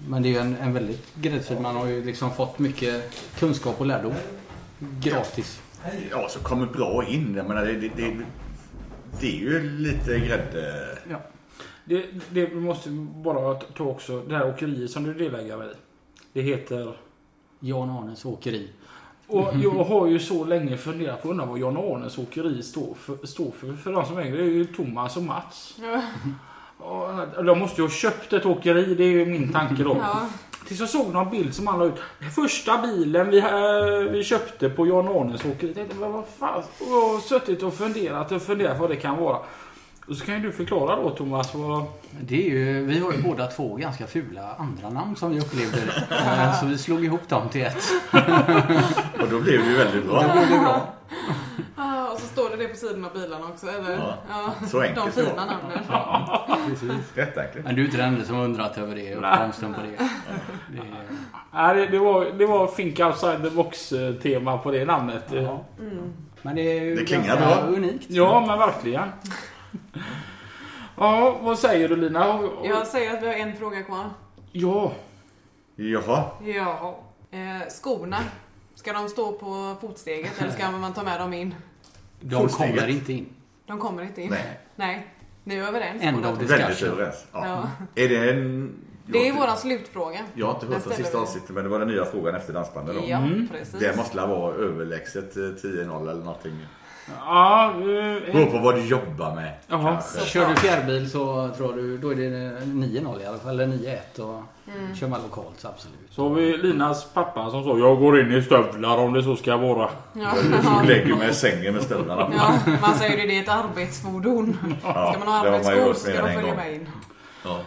Men det är ju en, en väldigt gräddfil. Man har ju liksom fått mycket kunskap och lärdom. Gratis.
Ja, så kommer bra in. Jag menar, det, det, det, det är ju lite grädde...
Ja.
Det, det vi måste bara ta också det här åkeriet som du är delägare i. Det heter...
Jan Arnes åkeri.
Och jag har ju så länge funderat på undrar vad Jan Arnes åkeri står för. Står för, för de som äger det är ju Thomas och Mats.
Ja.
Och De måste ju ha köpt ett åkeri, det är ju min tanke då.
Ja.
Tills jag såg någon bild som han la ut. Första bilen vi, eh, vi köpte på Jan Arnes åkeri. Jag tänkte, "Men vad fan. Och jag har suttit och funderat och funderat vad det kan vara. Och så kan ju du förklara då Thomas. Vad...
Det är ju, vi har ju båda två ganska fula andra namn som vi upplevde. Eh, Så vi slog ihop dem till ett.
Och då blev det ju väldigt bra.
Ah, och så står det det på sidan av bilarna också, eller?
Ja.
Ja.
Så
De
enkelt
fina
var
namnen.
Jätteäckligt.
Men du är inte den enda som har undrat över det och uppkomsten på det. det är,
Nej, det, det, var, det var Think Outside the Box eh, tema på det namnet. Ja,
Mm.
men det är ju
Det klingar
ganska
bra.
unikt.
ja men verkligen. ja, vad säger du Lina? Och- och-
Jag säger att vi har en fråga kvar.
Ja,
Jaha.
Ja. Eh, skorna. Ska de stå på fotsteget eller ska man ta med dem in?
De
Fullsteget.
kommer inte in.
De kommer inte in.
Nej.
Nej. Ni är överens.
End
båda
of
två.
Väldigt
discussion.
överens. Ja.
Ja.
Är det en...
Det är
jag,
våran slutfråga.
jag har inte
Den
hört den
ställer
sista
vi.
avsnittet men det var den nya frågan efter dansbandet då.
Ja, precis.
Det måste la vara överlägset eh, 10-0 eller någonting.
ja eh,
Beror på vad du jobbar med.
Jaha.
kanske.
Kör du fjärrbil så tror du, då är det 9-0 i alla fall, eller 9-1. Och Kör man lokalt så absolut.
så har vi Linas pappa som sa Jag går in i stövlar om det så ska vara.
Ja.
Du lägger mig i sängen med stövlarna på.
Ja, man säger ju det, det är ett arbetsfordon. Ska man ha
det har man ju
arbetsskor
gjort
ska
mer än
de
en
följa
gång.
med in.
Ja.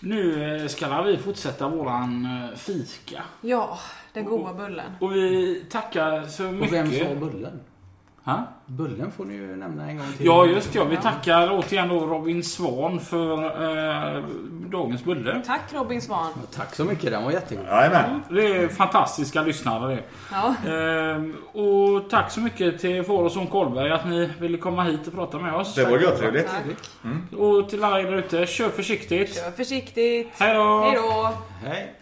Nu eh, ska vi fortsätta våran eh, fika.
Ja, den
Oh.
goda bullen.
Och vi tackar så mycket.
Och vem sa Bullen?
Ha?
Bullen får ni ju nämna en gång till.
Ja just ja, vi tackar återigen då Robin Svan för eh, dagens bulle.
Tack Robin Svahn.
Tack så mycket, den var jättegod.
Jajamän.
Det
Mm.
är fantastiska lyssnare det.
Ja,
Ehm, och tack så mycket till far och son Kolberg att ni ville komma hit och prata med oss.
Det var görtrevligt.
tack.
Och till alla er där ute, kör försiktigt.
Kör försiktigt.
Hej då!
Hej då.
Hej.